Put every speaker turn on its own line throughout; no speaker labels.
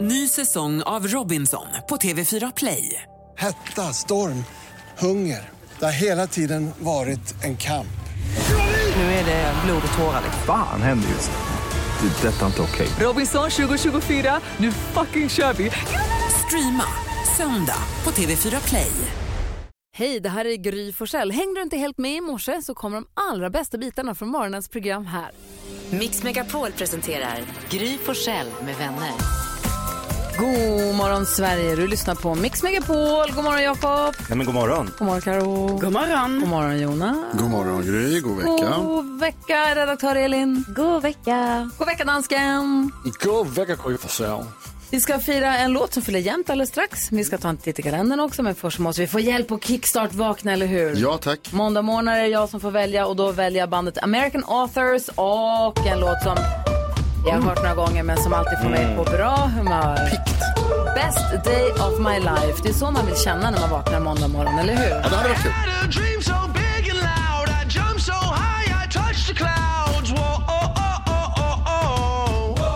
Ny säsong av Robinson på TV4 Play.
Hetta, storm, hunger. Det har hela tiden varit en kamp.
Nu är det blod och tårar.
Fan händer just nu. Det. är Detta är inte okej.
Robinson 2024, nu fucking kör vi! Streama söndag på TV4 Play.
Hej, det här är Gry Forssell. Hängde du inte helt med i morse så kommer de allra bästa bitarna från morgonens program här.
Mix Megapol presenterar Gry Forssell med vänner.
God morgon Sverige, du lyssnar på Mix Megapol. God morgon Jakob.
Nej, men god morgon.
God morgon Karo. God morgon. God morgon Jonas.
God morgon Gry, god vecka.
God vecka redaktör Elin. God vecka. God vecka dansken.
God vecka Gry Forssell.
Vi ska fira en låt som fyller jämnt alldeles strax. Vi ska ta en titt i kalendern också, men först måste vi få hjälp och kickstart vakna, eller hur?
Ja
Mm.
tack.
Måndag morgon är det jag som får välja och då väljer jag bandet American Authors och en låt som jag har hört några gånger men som alltid får
Mm.
mig på bra humör. Best day of my life. Det är så man vill känna när man vaknar måndag morgon, eller hur?
Ja, det hade varit kul.
had a dream so big and loud. I jumped so high, I touched the clouds. Whoa, oh, oh, oh, oh, oh.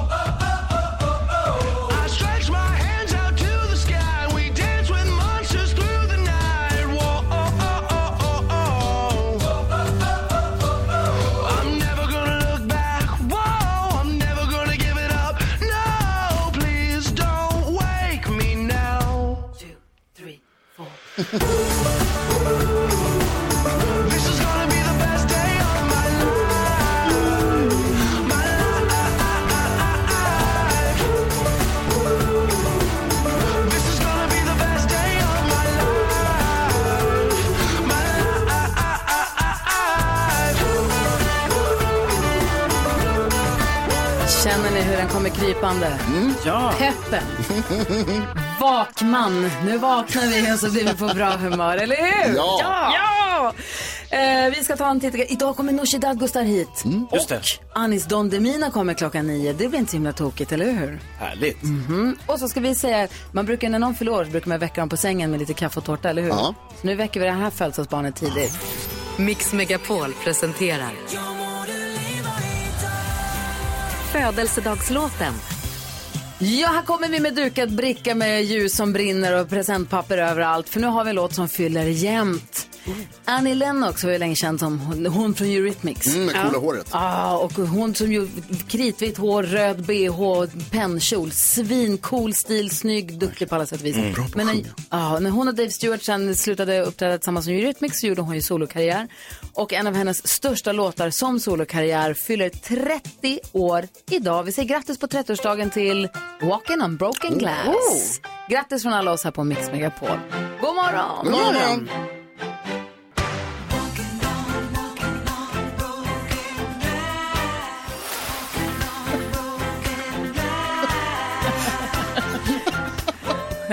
I stretched my hands out to the sky. We danced with monsters through the night. Whoa, oh, oh, oh, oh, oh. I'm never gonna look back. Whoa, I'm never gonna give it up. No, please don't wake me now. This is gonna be the best day of my life. My life. This is gonna be the best day of my life. My life.
Känner ni hur den kommer krypande?
Mm,
Ja.
Peppen. Vakman. Nu vaknar vi och så blir vi på bra humör, eller hur?
Ja.
ja! Eh, vi ska ta en titt. Idag kommer Nooshi Dadgostar hit.
Mm,
Just det.
Anis Don Demina kommer klockan nio. Det blir inte så himla tokigt, eller hur?
Härligt.
Mm. Och så ska vi säga, man brukar när någon fyller år så brukar man väcka dem på sängen med lite kaffe och tårta, eller hur?
Ja.
Så nu väcker vi det här födelsedagsbarnet tidigt.
Mix Megapol presenterar Födelsedagslåten.
Ja, här kommer vi med dukad bricka med ljus som brinner och presentpapper överallt. För nu har vi en låt som fyller jämnt.
Mm.
Annie Lennox var ju länge känd som hon, hon från Eurythmics.
Mm, med coola håret.
Ah, och hon som ju kritvitt hår, röd bh, pennkjol, svincool stil, snygg, duktig på alla sätt och vis. Men när, ah, när hon och Dave Stewart sen slutade uppträda tillsammans med Eurythmics så gjorde hon ju solokarriär. Och en av hennes största låtar som solokarriär fyller 30 år idag. Vi säger grattis på 30-årsdagen till Walking on broken glass. Grattis från alla oss här på Mix Megapol. God morgon!
God morgon.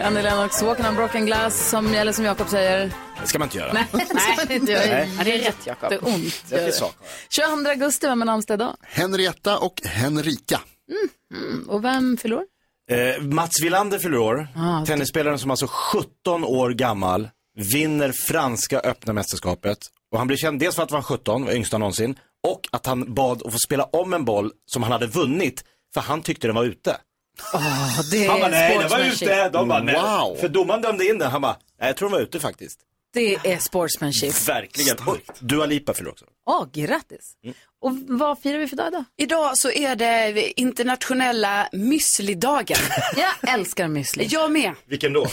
Annie Lennox, Walking on broken glass, som, eller som Jakob säger.
Det ska man inte göra. Nej.
Nej, det gör
Nej.
det är rätt Jakob. Det ont.
Det är sak.
22 augusti, vem är namnsdag idag?
Henrietta och Henrika.
Och vem förlorar?
Eh, Mats Wilander fyller år.
Ah,
Tennisspelaren som alltså 17 år gammal vinner franska öppna mästerskapet. Och han blir känd dels för att han var 17, var yngsta någonsin, och att han bad att få spela om en boll som han hade vunnit, för han tyckte den var ute.
Ja, det
Han bara, nej, den var
sportsmanship.
ute. De bara, nej.
Wow.
För domaren dömde in den. Han bara, nej, jag tror den var ute faktiskt.
Det är sportsmanship.
Verkligen. Och Dua Lipa fyller också.
Åh, grattis. Och vad firar vi för dag idag?
Idag så är det internationella müsli-dagen.
Jag älskar müsli.
Jag med.
Vilken då?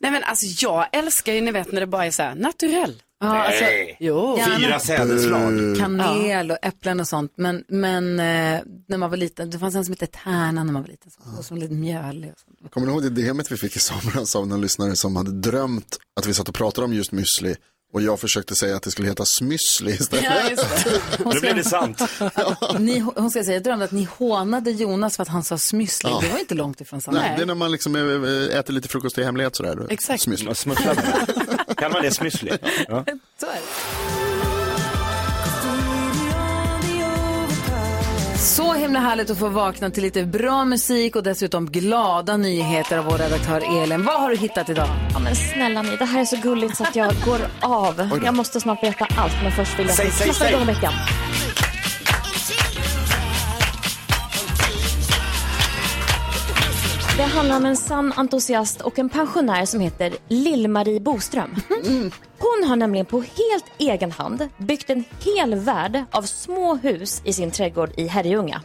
Nej men alltså jag älskar ju ni vet när det bara är så här naturell.
Ja, alltså,
Jo.
Fyra sädesslag.
kanel och äpplen och sånt. Men, men eh, när man var liten, det fanns en som hette Tärna när man var liten. Som, och som lite mjölig och sånt.
Kommer ni ihåg det DMet vi fick i somras av någon lyssnare som hade drömt att vi satt och pratade om just müsli och jag försökte säga att det skulle heta smyssli istället.
typ-
Nu blev det sant.
Ni, hon ska säga, jag drömde att ni hånade Jonas för att han sa smusslig. Det var inte långt ifrån sanningen.
Nej, det är när man liksom eh, äter lite frukost i hemlighet sådär. då.
Exakt.
Smyssli.
Smussla med det. Kan man det smusslig? Ja.
Så är det. Så himla härligt att få vakna till lite bra musik och dessutom glada nyheter av vår redaktör Elin. Vad har du hittat idag?
Ja, men snälla ni, det här är så gulligt så att jag går av. Jag måste snart berätta allt, men först vill jag
Säg,
att
säg,
vi klappar
säg.
igång veckan. Det handlar om en sann entusiast och en pensionär som heter Lill-Marie Boström. Hon har nämligen på helt egen hand byggt en hel värld av små hus i sin trädgård i Herrljunga.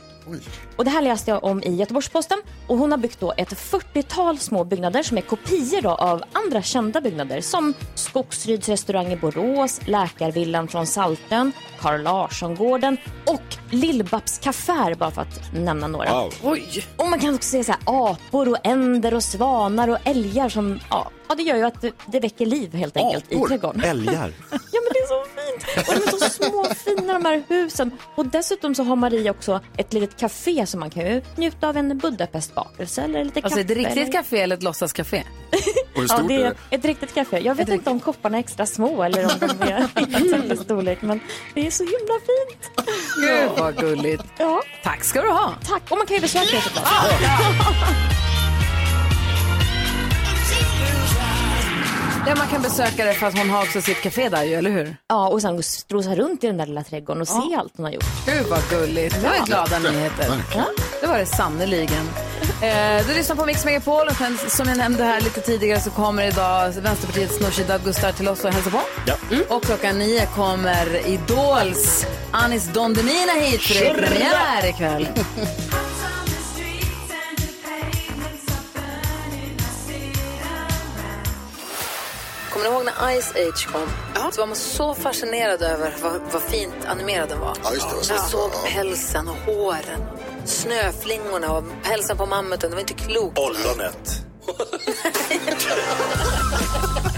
Och det här läste jag om i Göteborgs-Posten och hon har byggt då ett 40-tal små byggnader som är kopior då av andra kända byggnader som Skogsryds restaurang i Borås, Läkarvillan från Saltön, Carl Larsson-gården och Lill-Babs kaffär bara för att nämna några.
Wow.
Oj. Och man kan också se så här, apor och änder och svanar och älgar som, ja, ja det gör ju att det- det väcker liv helt enkelt i trädgården.
Älgar.
Ja men det är så fint! Och de är så små fina de här husen. Och dessutom så har Marie också ett litet café som man kan ju njuta av en budapestbakelse eller lite
Alltså ett
kaffe.
riktigt
eller...
café eller ett låtsascafé?
Och hur Ja, stort det är är Ett riktigt café. Jag vet inte om kopparna är extra små eller om de är exakt i storlek men det är så himla fint.
Gud vad gulligt.
Ja.
Tack ska du ha.
Tack! Och man kan ju besöka det såklart.
Ah,
Ja, man kan besöka det för att hon har också sitt café där ju, eller hur?
Ja, och sen strosa runt i den där lilla trädgården och se allt hon har gjort.
Gud vad gulligt. Det var ju
Ja.
glada nyheter.
Ja.
Det var det sannerligen. Eh, du lyssnar på Mix Megapol och sen, som jag nämnde här lite tidigare så kommer idag Vänsterpartiets Nooshi Dadgostar till oss och hälsar på. Mm. Och klockan nio kommer Idols Anis Don Demina hit för det är
Tjurra!
premiär ikväll. Kommer ni ihåg när Ice Age kom? Så var man så fascinerad över vad, vad fint animerad den var.
Ja, just det, det var så
man
fint.
såg
Ja.
pälsen och håren, snöflingorna och pälsen på mammuten. Det var inte klokt.
Ollonet.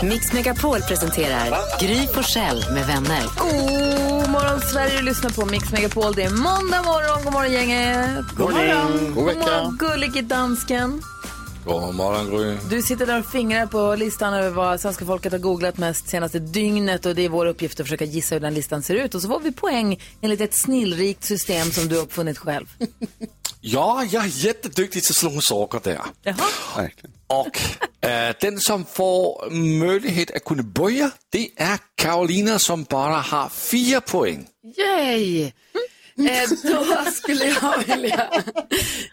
Mix Megapol presenterar Gry Forssell med vänner.
God morgon Sverige, du lyssnar på Mix Megapol. Det är måndag morgon. God morgon gänget.
God morgon. God
God
vecka.
morgon gullige dansken.
God morgon Gry.
Du sitter där och fingrar på listan över vad svenska folket har googlat mest senaste dygnet och det är vår uppgift att försöka gissa hur den listan ser ut och så får vi poäng enligt ett snillrikt system som du har uppfunnit själv.
Ja, jag är jätteduktig till sådana saker där. Och eh, den som får möjlighet att kunna börja, det är Karolina som bara har fyra poäng.
Yay!
Mm.
Eh, då skulle jag vilja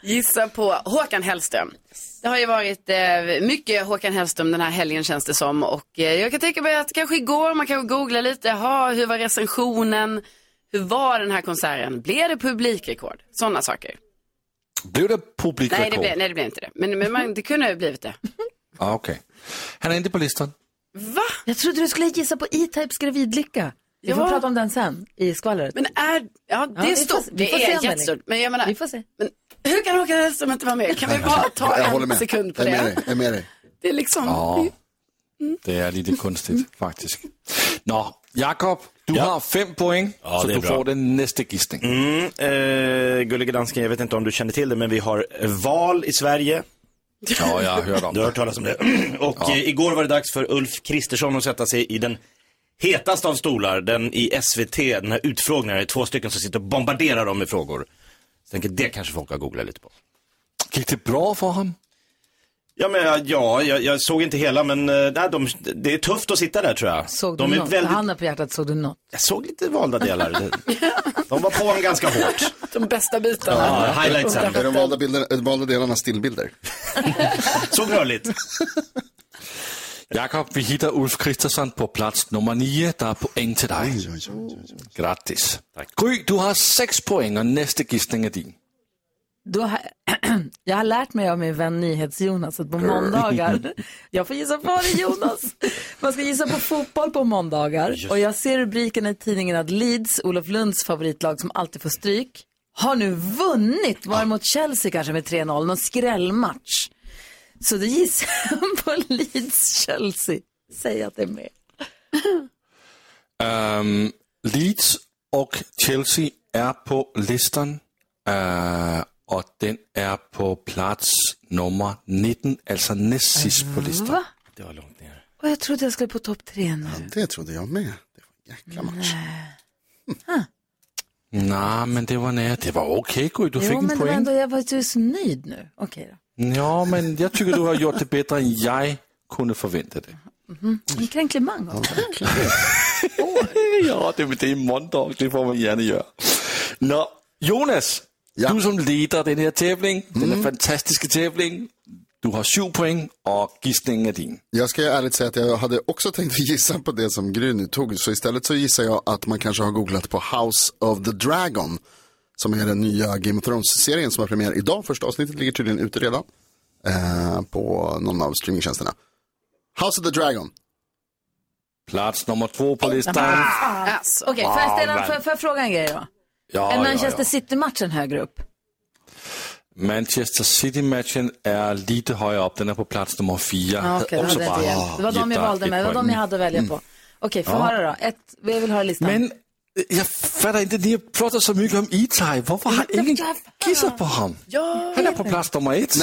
gissa på Håkan Hellström. Det har ju varit eh, mycket Håkan Hellström den här helgen känns det som. Och eh, jag kan tänka mig att kanske igår, man kan googla lite, ha, hur var recensionen? Hur var den här konserten? Blev det publikrekord? Sådana saker.
Blev det publikrekord?
Nej det, blev, nej, det blev inte det. Men, men man, det kunde ha blivit det.
Ah, Okej. Han är inte på listan.
Va?
Jag trodde du skulle gissa på E-Types gravidlycka. Vi får
Ja.
prata om den sen i skvallret.
Men är, ja det
vi
är
får-
stort,
vi
det
får se,
är
Melanie.
jättestort. Men jag menar,
Vi får se.
Men hur kan Håkan Hellström inte vara med? Kan vi bara ta
jag håller
en
med.
sekund på
jag
det?
är med dig. Jag är med dig.
Det är liksom,
Ja. Det är lite konstigt faktiskt. Nå, Jakob, du har fem poäng,
Ja,
så
det är
du
bra.
får den nästa gissning.
Mm, eh, Gullige dansken, jag vet inte om du känner till det, men vi har val i Sverige.
Ja, jag har hört om
Du har hört talas om det. Och eh, igår var det dags för Ulf Kristersson att sätta sig i den hetaste av stolar, den i SVT, den här utfrågningen. Det är två stycken som sitter och bombarderar dem med frågor. Jag tänker, det kanske folk har googlat lite på.
Gick det bra för honom?
Ja, men, ja, ja jag, jag såg inte hela, men eh, nej, de, det är tufft att sitta där tror jag.
Såg
de
du
är
något?
väldigt,
Handen på hjärtat, såg du något?
Jag såg lite valda delar. de var på honom ganska hårt.
de bästa bitarna.
Ja, highlightsen.
Är de valda, bilderna, de valda delarna stillbilder?
Så rörligt.
Jakob, vi hittar Ulf Kristersson på plats nummer nio. Det är poäng till dig. Grattis. Gry, du har sex poäng och nästa gissning är din.
Då har, jag har lärt mig av min vän NyhetsJonas att på måndagar, jag får gissa på det Jonas, man ska gissa på fotboll på måndagar och jag ser rubriken i tidningen att Leeds, Olof Lunds favoritlag som alltid får stryk, har nu vunnit,
Ah.
var det mot Chelsea kanske med 3-0, någon skrällmatch. Så då gissar jag på Leeds-Chelsea, säg att det är med.
Ehm, Leeds och Chelsea är på listan eh, och den är på plats nummer 19, alltså näst sist på listan.
Va?
Ah. Det var långt ner.
Och jag trodde jag skulle på topp tre nu.
Det trodde jag med. Det var en jäkla match.
Nej, men det var nära. Det var okej Gry, du
jo,
fick
men
en
det var
poäng.
ändå, jag var ju så nöjd nu. Okej då.
Ja, men jag tycker du har gjort det bättre än jag kunde förvänta dig.
Mhm. En kränklimang också.
ja, det, det är måndag, det får man gärna göra. Nå, Mhm. Jonas, du som leder den här tävlingen, den här fantastiska tävlingen, Du har syv poäng och gissningen är din.
Jag ska ärligt säga att jag hade också tänkt gissa på det som Gry nu tog. Så istället så gissar jag att man kanske har googlat på House of the Dragon. Som är den nya Game of Thrones-serien som har premiär idag. Första avsnittet ligger tydligen ute redan. Eh, på någon av streamingtjänsterna. House of the Dragon.
Plats nummer två på listan.
Alltså, Okej, får jag ställa- får jag- får jag fråga en grej då?
Ja,
är
ja,
Manchester
ja.
City-matchen högre upp?
Manchester City-matchen är lite högre upp, den är på plats nummer fyra.
Ja, okej, det,
Också
hade jag
bara
inte hjälpt. det var de jag
gett
valde
ett
med, det var de
poäng.
jag hade att välja på. Okej, få
Ja.
höra då. Ett, jag vill höra listan.
Mm. Men øh, jag fattar inte, ni har pratat så mycket om E-Type, varför har ingen gissat på honom?
Ja.
Han är på plats nummer ett.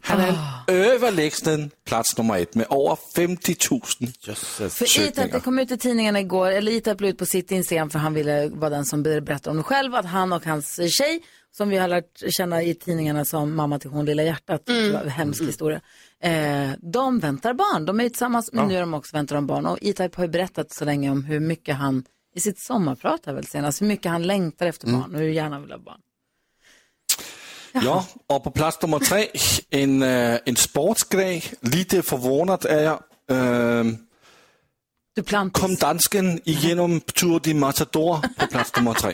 Han är överlägsen plats nummer ett med över 50 000
För ITAP, det
sökningar.
kom ut i tidningen igår, eller ITAP la ut på sitt Instagram för han ville vara den som berättade om det själv, att han och hans tjej, som vi har lärt känna i tidningarna som mamma till hon Lilla hjärtat, mm. hemsk historia, eh, de väntar barn. De är ju tillsammans, men
Ja.
nu är de också väntar de barn. Och ITAP har ju berättat så länge om hur mycket han, i sitt sommarprat här väl senast, hur mycket han längtar efter
Mm.
barn och hur gärna han vill ha barn.
Ja, och på plats nummer tre, en, eh, en sportsgrej. Lite förvånad är jag. Ehm, Kom dansken igenom Tour de Matador på plats nummer tre.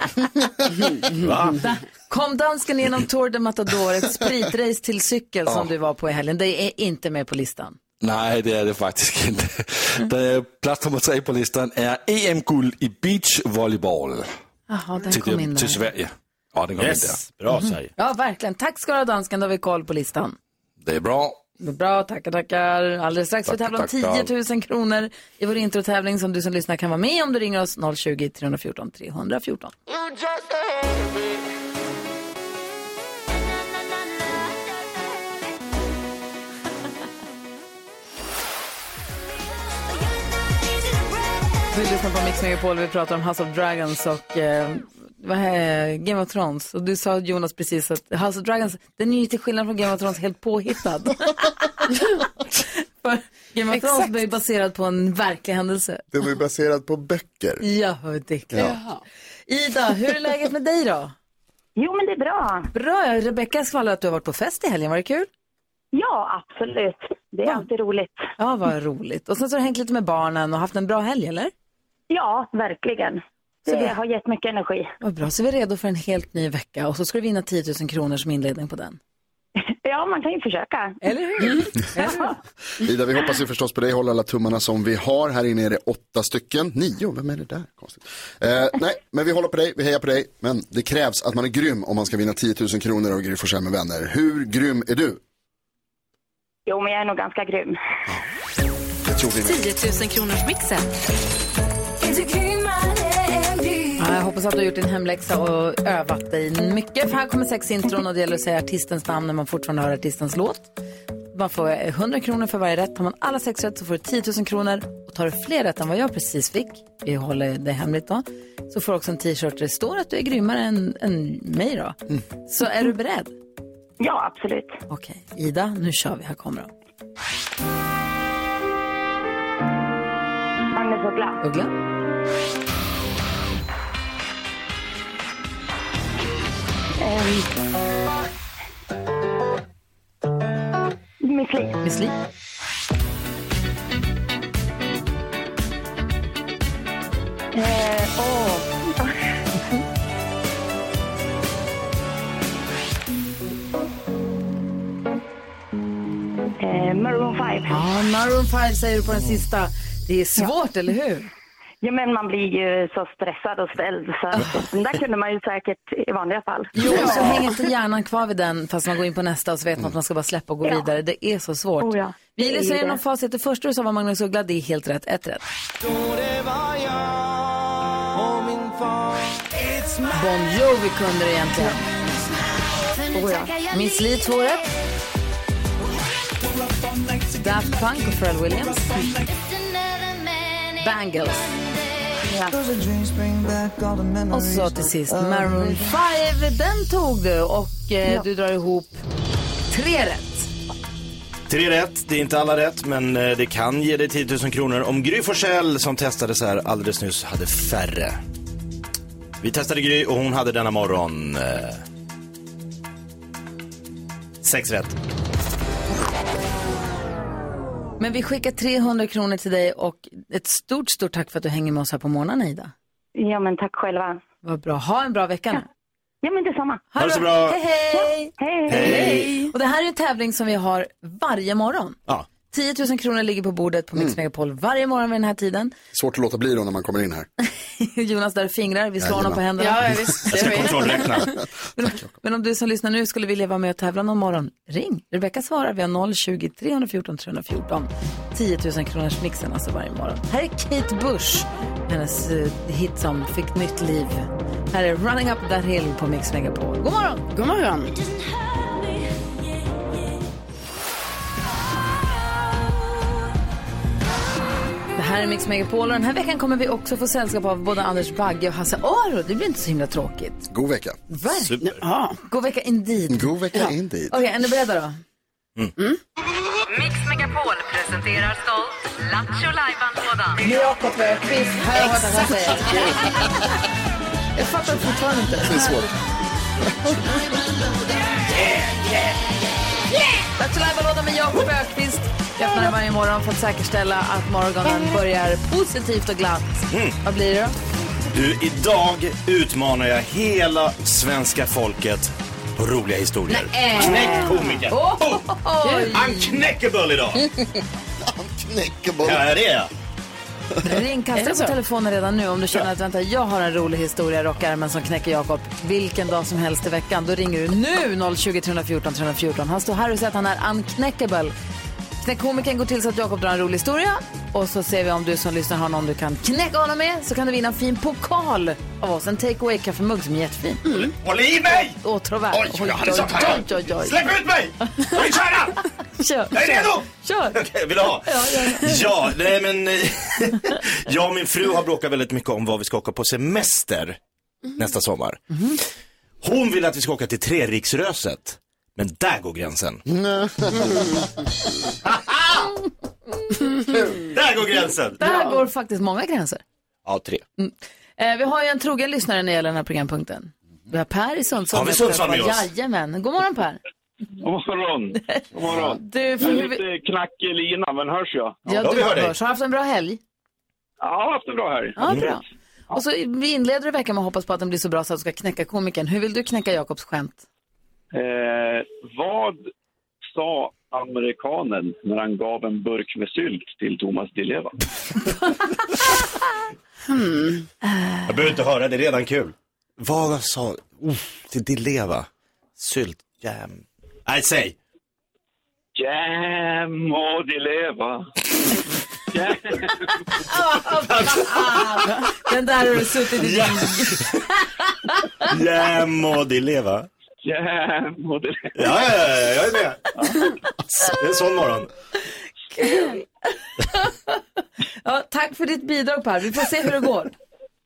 Va?
Där Mm. Kom dansken genom Tour de Matador, ett spritrace till cykel som du var på i helgen. Det är inte med på listan.
Nej, det är det faktiskt inte. Det är øh, plats nummer tre på listan är EM-guld i beachvolleyboll
Jaha, den
till,
kom in
till
där.
Sverige. Ja, den kom
Yes,
in där. Bra,
Ja, verkligen. Tack ska du ha dansken, då har vi koll på listan.
Det är bra.
Bra, tackar, tackar. Alldeles strax ska vi
Tackar,
tävla om
tackar.
10 000 kronor i vår introtävling som du som lyssnar kan vara med om du ringer oss 020-314 314. Du lyssnar på Mix Megapol, vi pratar om House of Dragons och eh, vad är Game of Thrones. Och du sa Jonas precis att House of Dragons, den är ju till skillnad från Game of Thrones helt påhittad. För Game of Thrones
Exakt.
var ju baserad på en verklig händelse.
Det var ju baserat på böcker.
Ja, det är klart. Ida, hur är läget med dig då? Jo, men det är bra. Bra. Rebecka skvallrade att du har varit på fest i helgen. Var det kul? Ja, absolut. Det är alltid roligt. Ja, vad roligt. Och sen så har du hängt lite med barnen och haft en bra helg, eller?
Ja, verkligen.
Så vi-
Det har gett mycket energi.
Vad bra. Så vi är redo för en helt ny vecka och så ska du vinna 10 000 kronor som inledning på den.
Ja, man kan ju försöka.
Eller hur?
Ida, vi hoppas ju förstås på dig. Håll alla tummarna som vi har. Här inne är det åtta stycken. Nio, vem är det där? Konstigt. Eh, nej, men vi håller på dig. Vi hejar på dig. Men det krävs att man är grym om man ska vinna 10 000 kronor av Gry Forssell med vänner. Hur grym är du?
Jo, men jag är nog ganska grym.
Det tror vi.
10 000 kronors mixen.
Ja, jag hoppas att du har gjort din hemläxa och övat dig mycket. För här kommer sex intron och det gäller att säga artistens namn när man fortfarande hör artistens låt. Man får 100 kronor för varje rätt. Tar man alla sex rätt så får du 10 000 kronor. Och tar du fler rätt än vad jag precis fick, vi håller det hemligt då, så får du också en t-shirt där det står att du är grymmare än, än mig då. Så är du beredd? Mm. Ja, absolut. Okej, Ida, nu kör vi. Här kommer de.
Magnus Uggla.
Uggla.
Ehm. Miss Li.
Miss Li.
Eh, åh. eh, Maroon 5.
Ja, Maroon 5 säger du på den sista. Det är svårt, eller hur?
Ja, men man blir ju så stressad och ställd. Så att, den där kunde man ju säkert i vanliga fall.
Jo, och så hänger inte hjärnan kvar vid den fast man går in på nästa och så vet man att man ska bara släppa och gå vidare. Det är så svårt.
Oh, ja.
Vi
Det är
läser
det.
igenom facit. Det första du sa var Magnus Uggla, det är helt rätt. Ett rätt. Bon Jovi kunde det egentligen.
Oh, ja.
Miss Li, två rätt. Daft Punk och Pharrell Williams. Bangles. Och så till sist Maroon 5. Den tog du och eh, du drar ihop tre rätt.
Tre rätt, det är inte alla rätt, men eh, det kan ge dig 10 000 kronor om Gry Forssell som testades här alldeles nyss hade färre. Vi testade Gry och hon hade denna morgon eh, Sex rätt.
Men vi skickar 300 kronor till dig och ett stort, stort tack för att du hänger med oss här på morgonen Ida.
Ja, men tack själva.
Vad bra. Ha en bra vecka nu.
Ja, men detsamma.
Ha det så bra. Hej, hej.
Ja,
Hej. Och det här är en tävling som vi har varje morgon.
Ja.
10 000 kronor ligger på bordet på Mix
Mm.
Megapol varje morgon vid den här tiden.
Svårt att låta bli då när man kommer in här.
Jonas där fingrar, vi slår
Jajamän.
honom på händerna.
Ja, ja, visst. Jag ska kontrollräkna.
Men om du som lyssnar nu skulle vilja vara med och tävla någon morgon, ring. Rebecka svarar via 020 314 314. 10 000 kronors mixen alltså varje morgon. Här är Kate Bush, hennes eh, hit som fick nytt liv. Här är Running Up That Hill på Mix Megapol. God morgon!
God morgon!
Det här är Mix Megapol och den här veckan kommer vi också få sällskap av både Anders Bagge och Hasse Aro. Det blir inte så himla tråkigt.
God vecka.
Verkligen. God vecka indeed.
God vecka indeed.
Okej, är ni beredda då? Mm.
Mix Megapol presenterar stolt Lattjo Lajban-lådan.
Jakob Öqvist, här har jag vad han
Exakt.
säger. Jag fattar fortfarande inte.
Det är svårt.
Lattjo Lajban-lådan med Jakob Öqvist. Vi öppnar den varje morgon för att säkerställa att morgonen börjar positivt och glatt.
Mm.
Vad blir det då?
Du, idag utmanar jag hela svenska folket på roliga historier.
Nej.
Knäck komikern!
Oj.
Han knäckerbull idag!
Knäckerboll.
Ja, det är jag.
Ring,
Är det
kasta
så?
på telefonen redan nu om du känner att vänta, jag har en rolig historia i rockärmen som knäcker Jakob vilken dag som helst i veckan. Då ringer du nu 020 314 314. Han står här och säger att han är unknäckable. Knäckkomikern går till så att Jakob drar en rolig historia och så ser vi om du som lyssnar har någon du kan knäcka honom med så kan du vinna en fin pokal av oss. En take away kaffemugg som är jättefin. Mm.
Håll i mig!
Åh, tråvärd.
Oj, jag hade sånt här. Släpp ut mig! Jag vill köra!
Kör!
Jag är redo!
Kör!
Okej, vill du ha?
Ja, ja, ja.
Ja, nej men... eh, jag och min fru har bråkat väldigt mycket om vad vi ska åka på semester
Mhm.
nästa sommar. Hon vill att vi ska åka till Treriksröset. Men där går gränsen.
Mm.
Där går gränsen!
Mm. Där går faktiskt många gränser.
Ja, tre.
Eh, vi har ju en trogen lyssnare när det gäller den här programpunkten. Vi har Per i Sundsvall.
Har vi Sundsvall med oss?
Jajamän. God morgon Per.
God morgon. God morgon.
Du, för-
Jag är lite knackig i linan, men hörs jag?
du hörs. Har du haft en bra helg?
Ja, jag har haft en bra helg.
Ja, bra. Och så vi inleder i veckan med att hoppas på att den blir så bra så att du ska knäcka komikern. Hur vill du knäcka Jakobs skämt?
Mm.
Eh, vad sa amerikanen när han gav en burk med sylt till Thomas Di Leva?
Jag behöver inte höra, det är redan kul. Vad sa... Uff, till Di Leva. Sylt, jam. Nej, säg.
Jam och Di Leva.
den där har du suttit i din...
Jam och Di Leva.
Jam och Di Leva.
Ja, ja, ja, jag är med. Det är en sån morgon.
Kul! ja, tack för ditt bidrag Per. Vi får se hur det går.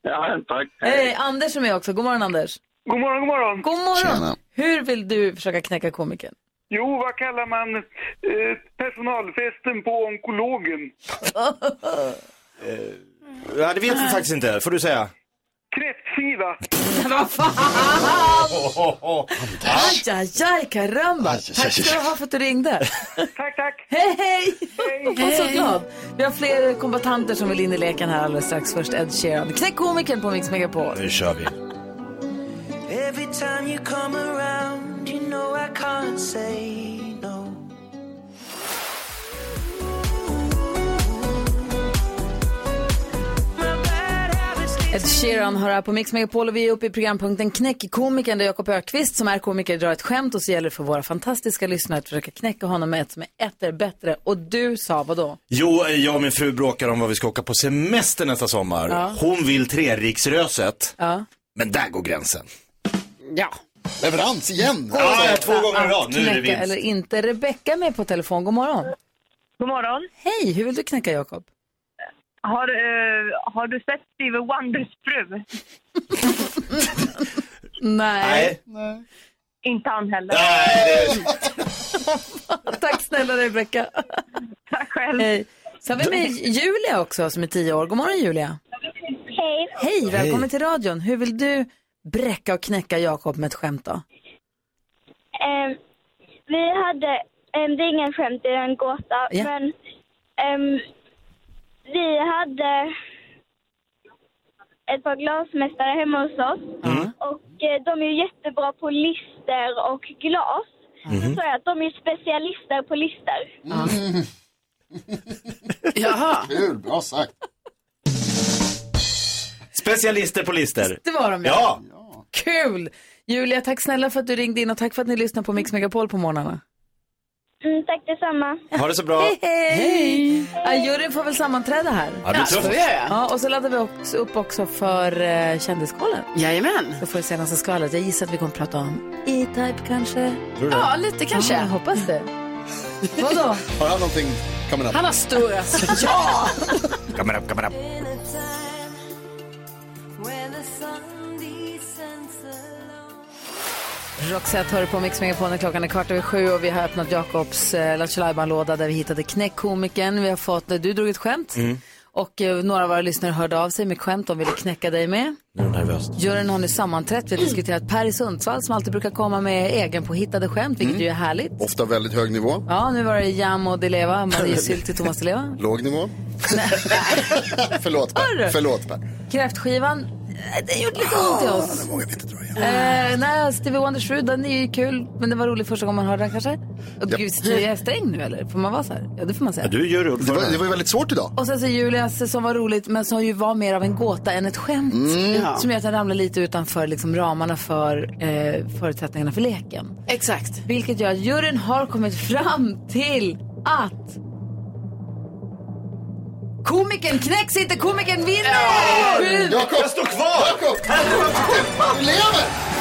Ja, tack.
Hej, Anders är med också. God morgon Anders.
God morgon, god morgon.
God morgon.
Tjena.
Hur vill du försöka knäcka komikern?
Jo, vad kallar man eh, personalfesten på onkologen?
Eh, Ja, det vet vi faktiskt inte. Får du säga.
Kräftskiva.
Vad
fan!
Aj, aj, aj, karamba. Tack ska du ha för att du ringde.
tack, tack.
Hej, hej. Jag är så
Hej.
glad. Vi har fler kombatanter som vill in i leken här alldeles strax. Först Ed Sheeran. Knäck komikern på Mix Megapol.
Nu kör vi.
Every time you come around, you know I can't say no.
Ed Sheeran hör här på Mix Megapol och vi är uppe i programpunkten Knäck komikern där Jakob Ökvist som är komiker drar ett skämt och så gäller det för våra fantastiska lyssnare att försöka knäcka honom med ett som är etter bättre. Och du sa vad då?
Jo, eh, jag och min fru bråkar om vad vi ska åka på semester nästa sommar.
Ja.
Hon vill Treriksröset,
Ja.
men där går gränsen.
Ja.
Leverans igen.
Ja, ja, två gånger i rad. Nu är det
Knäcka eller
vinst.
inte. Rebecka är med på telefon. God morgon.
God morgon.
Hej, hur vill du knäcka Jakob?
Har, eh, har du sett Steve Wonders fru?
Nej.
Inte han heller.
Tack snälla Rebecka.
Tack själv.
Hej. Så har vi med Julia också som är tio år. God morgon Julia.
Hej.
Hej, välkommen
Hej.
till radion. Hur vill du bräcka och knäcka Jakob med ett skämt då?
Ehm, Vi hade, em, det är ingen skämt, det är en gåta,
Ja.
men em, vi hade ett par glasmästare hemma hos oss och eh, de är ju jättebra på lister och glas. Så sa jag att de är ju specialister på lister.
Jaha.
Kul, bra sagt.
Specialister på lister.
Det var de
ja.
Kul! Julia, tack snälla för att du ringde in och tack för att ni lyssnar på Mix Megapol på morgnarna.
Mm, tack detsamma.
Ha det så bra.
Hej! Ja, juryn får väl sammanträda här.
Ja, det blir Ja, tufft. får vi göra.
Ja, och så laddar vi också upp också för uh, Kändiskollen.
Jajamän.
Då får vi senaste skvallret. Jag gissar att vi kommer prata om E-Type kanske.
Tror du det? Ja,
lite
kanske.
Ja, jag hoppas det. Vadå?
Har han någonting coming up?
Han har stora... ja!
Coming up, coming up.
Roxette hör du på Mix Megapol när klockan är kvart över sju och vi har öppnat Jakobs eh, Lattjo låda där vi hittade knäckkomikern. Vi har fått, eh, du drog ett skämt
Mm.
och eh, några av våra lyssnare hörde av sig med skämt de ville knäcka dig med.
Nu är det nervöst.
Juryn har nu sammanträtt. Vi har diskuterat Per i Sundsvall som alltid brukar komma med egen påhittade skämt, vilket ju är härligt.
Ofta väldigt hög nivå.
Ja, nu var det Jam och Dileva, Marie till Thomas Dileva.
Låg nivå. Förlåt Per. Förlåt Per.
Kräftskivan, eh, den gjorde lite ont i oss. Eh, nej, Stevie Wonders fru, den är ju kul, men det var roligt första gången man hörde den kanske. Och
Ja.
gud, är jag sträng nu eller? Får man vara så här? Ja, det får man säga.
Du gör
det. Var, det var ju väldigt svårt idag.
Och sen så Julias som var roligt, men som ju var mer av en gåta än ett skämt.
Mm. Ja.
Som gör att jag ramlar lite utanför liksom, ramarna för eh, förutsättningarna för leken.
Exakt.
Vilket gör att juryn har kommit fram till att komikern knäcks inte, komikern vinner! Sju!
Jakob! Jag står kvar! Jakob! Du lever!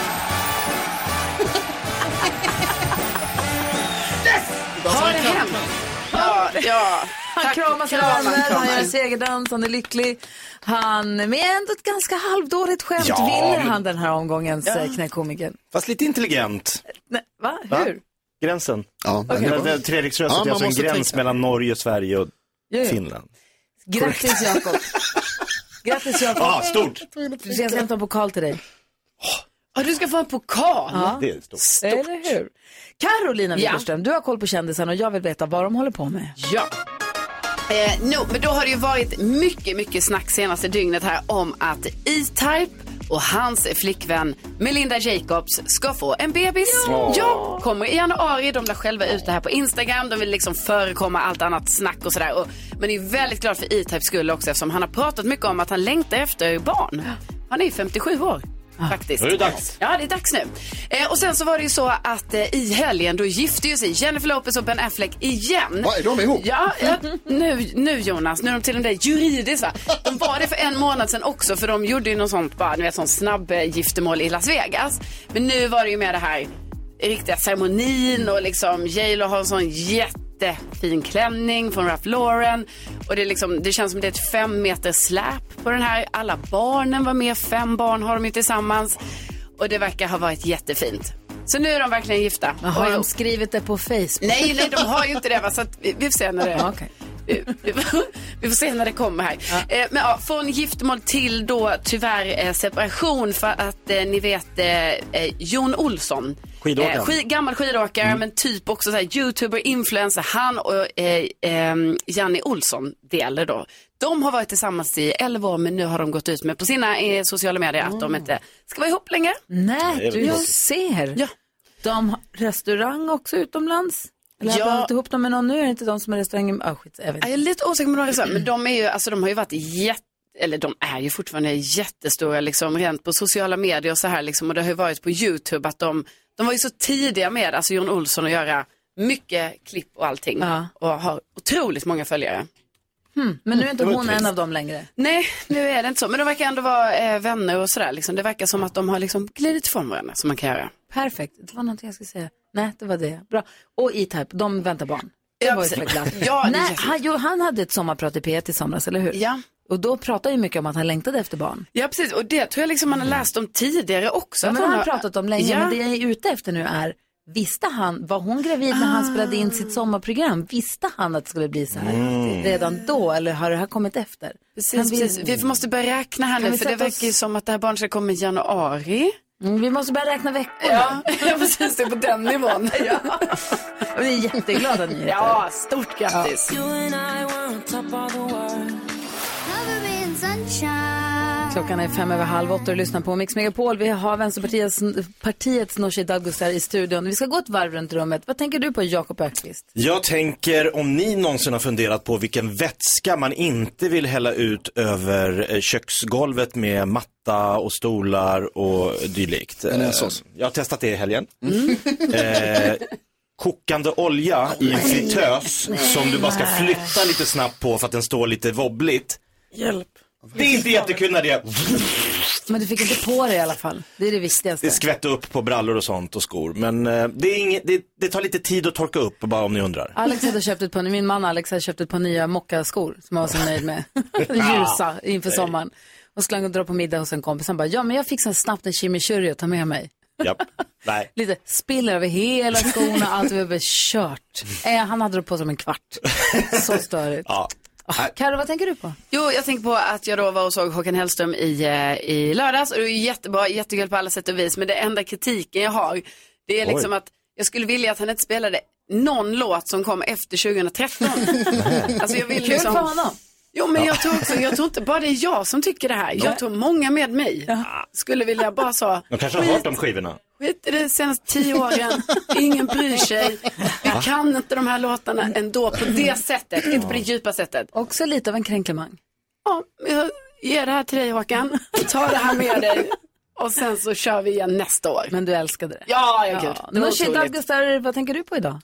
Ha det hem. Ja, ja.
Han
Tack.
kramar sina
Kramar,
vänner, han
kramar.
gör en segerdans, han är lycklig. Han, med ändå ett ganska halvdåligt skämt
Ja,
vinner
men-
han den här omgångens eh,
Ja.
ja. knäckkomikern.
Fast lite intelligent.
Nej, va?
Va?
Hur?
Gränsen.
Ja,
Okej.
det, det, Treriksröset
Ja,
är
man
alltså en
måste
gräns
tänka.
mellan Norge, Sverige och
Ja, ja.
Finland.
Grattis Jakob. Grattis Jakob.
Ja, stort.
Du ska hämta en pokal till dig.
Ja, du ska få en pokal.
Ja.
Det är stort.
Eller hur? Carolina
Ja.
Widerström, du har koll på kändisarna och jag vill veta vad de håller på med.
Ja. Eh, no, men då har det ju varit mycket, mycket snack senaste dygnet här om att E-Type och hans flickvän Melinda Jacobs ska få en bebis.
Ja.
ja kommer i januari. De la själva ut det här på Instagram. De vill liksom förekomma allt annat snack och sådär. Och- Men är ju väldigt glad för E-Types skull också eftersom han har pratat mycket om att han längtar efter barn. Han är ju 57 år. Faktiskt.
Ah. Då är det dags.
Ja, det är dags nu. Eh, och sen så var det ju så att eh, i helgen då gifte ju sig Jennifer Lopez och Ben Affleck igen.
Vad, är de ihop?
Ja, ja nu, nu Jonas, nu är de till och med juridiskt va? De var det för en månad sedan också för de gjorde ju något sånt bara, ni vet sån snabb eh, giftermål i Las Vegas. Men nu var det ju med det här riktiga ceremonin och liksom J Lo har en sån jättefin klänning från Ralph Lauren. Och det, är liksom, det känns som det är ett fem meter släp på den här. Alla barnen var med, fem barn har de ju tillsammans. Och det verkar ha varit jättefint. Så nu är de verkligen gifta.
Men har
Och-
de skrivit det på Facebook?
Nej, nej, de har ju inte det. Va? Så att vi, vi får se när det... Vi- vi får- Vi får se när det kommer här. Eh, men, ja, från giftermål till då tyvärr eh, separation för att eh, ni vet eh, eh, Jon Olsson.
Skidåkaren.
Eh, skid, gammal skidåkare men typ också så här, youtuber, influencer. Han och eh, eh, Janni Olsson delar då. De har varit tillsammans i 11 år men nu har de gått ut med på sina eh, sociala medier att de inte ska vara ihop längre.
Nej,
Det är
du
väl
jag
gott.
ser.
Ja.
De har restaurang också utomlands. Eller har
Ja.
de hållit ihop dem med någon nu? Är det inte de som är restaurang? Ah, skit, jag vet
Ja, Jag är lite osäker på några saker, men de, är ju, alltså, de har ju varit jätte eller de är ju fortfarande jättestora liksom, rent på sociala medier och så här liksom, och det har ju varit på YouTube att de, de var ju så tidiga med, alltså Jon Olsson att göra mycket klipp och allting
Ja.
och har otroligt många följare.
Hmm. Men nu är inte
Det var
hon
trist.
en av dem längre.
Nej, nu är det inte så, men de verkar ändå vara eh, vänner och sådär liksom. Det verkar som att de har liksom glidit ifrån varandra som man kan göra.
Perfekt, det var någonting jag skulle säga. Nej, det var det. Bra. Och E-Type, de väntar barn. Det
Ja,
var ju så
precis.
glatt.
Ja, det
Nej,
känns-
han, jo, han hade ett sommarprat i P1 i somras, eller hur?
Ja.
Och då pratade ju mycket om att han längtade efter barn.
Ja, precis, och det tror jag liksom man har läst om tidigare också.
Mm.
att
Ja, men det
hon
har han
har-
pratat om länge,
Ja.
men det jag är ute efter nu är, visste han, var hon gravid när han spelade in sitt sommarprogram? Visste han att det skulle bli så här
Ah. Mm.
redan då, eller har det här kommit efter?
Precis, precis. Vi måste börja räkna här
Mm. Kan
nu
vi
för det
sätta
verkar ju
oss-
som att det här barnet ska komma i januari.
Mm, Vi måste börja räkna veckorna.
Ja, precis. Det är på den nivån. ja.
Vi är jätteglada nyheter.
Ja, stort grattis.
Klockan är fem över halv åtta och lyssnar på Mix Megapol. Vi har Vänsterpartiets partiets Nooshi Dadgostar i studion. Vi ska gå ett varv runt rummet. Vad tänker du på, Jakob Ökvist?
Jag tänker om ni någonsin har funderat på vilken vätska man inte vill hälla ut över eh, köksgolvet med matta och stolar och dylikt. Eh, Jag har testat det i helgen. Eh, kokande olja i en fritös som du bara ska flytta lite snabbt på för att den står lite wobbligt.
Hjälp.
Det är inte jättekul när det
Men du fick inte på det i alla fall. Det är det viktigaste.
det skvätter upp på brallor och sånt och skor. Men eh, det, är inget, det, det tar lite tid att torka upp bara om ni undrar.
Alex hade köpt ett par, min man Alex hade köpt ett par nya mockaskor som han var så nöjd med. Ljusa inför
Nej.
sommaren. Och skulle han dra på middag hos en kompis. Han bara, ja men jag fixar snabbt en chimichurri och tar med mig.
Japp. Nej.
Lite spiller över hela skorna, allt var bara kört. Eh, han hade det på som en kvart. Så störigt.
Ja.
Karo, vad tänker du på?
Jo, jag tänker på att jag då var och såg Håkan Hellström i, eh, i lördags och det är ju jättebra, jättekul på alla sätt och vis. Men det enda kritiken jag har, det är
Oj.
liksom att jag skulle vilja att han inte spelade någon låt som kom efter 2013. alltså jag vill
Kul
liksom...
för honom.
Jo, men jag tror också, jag tror inte bara det är jag som tycker det här.
Nej.
Jag tror många med mig skulle vilja bara så,
De kanske har hört de skivorna.
skit i det de senaste tio åren, ingen bryr sig, vi
Va?
kan inte de här låtarna ändå på det sättet, inte på det djupa sättet.
Också lite av en kränklemang.
Ja, jag ger det här till dig Håkan. Ta det här med dig och sen så kör vi igen nästa år.
Men du älskade det?
Ja, ja gud. Det var
Nooshi
otroligt.
Dadgostar, vad tänker du på idag?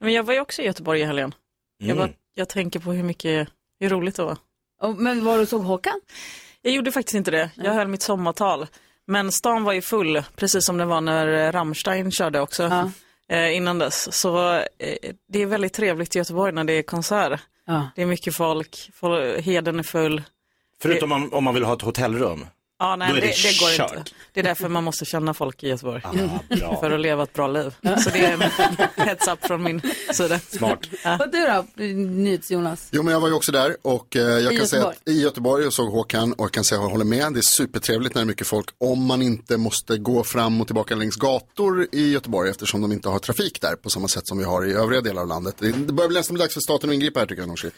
Men jag var ju också i Göteborg i helgen. Jag,
Mm.
bara, jag tänker på hur mycket, hur roligt det var.
men var du såg Håkan?
Jag gjorde faktiskt inte det. Jag höll mitt sommartal. Men stan var ju full, precis som den var när eh, Rammstein körde också. Eh, innan dess. Så eh, det är väldigt trevligt i Göteborg när det är konsert.
Ja.
Det är mycket folk, folk heden är full.
Förutom om, om man vill ha ett hotellrum.
Ja, nej,
Då är
det,
det
det, går
kört. Ah,
inte. Det är därför man måste känna folk i Göteborg.
bra.
För att leva ett bra liv. Så det är en heads up från min sida.
Smart.
Vad du då, NyhetsJonas?
Jo, men jag var ju också där och eh, jag
I
kan säga
Göteborg.
att i Göteborg och såg Håkan och jag kan säga att jag håller med. Det är supertrevligt när det är mycket folk om man inte måste gå fram och tillbaka längs gator i Göteborg eftersom de inte har trafik där på samma sätt som vi har i övriga delar av landet. Det det börjar bli nästan dags för staten att ingripa här tycker jag Nooshi.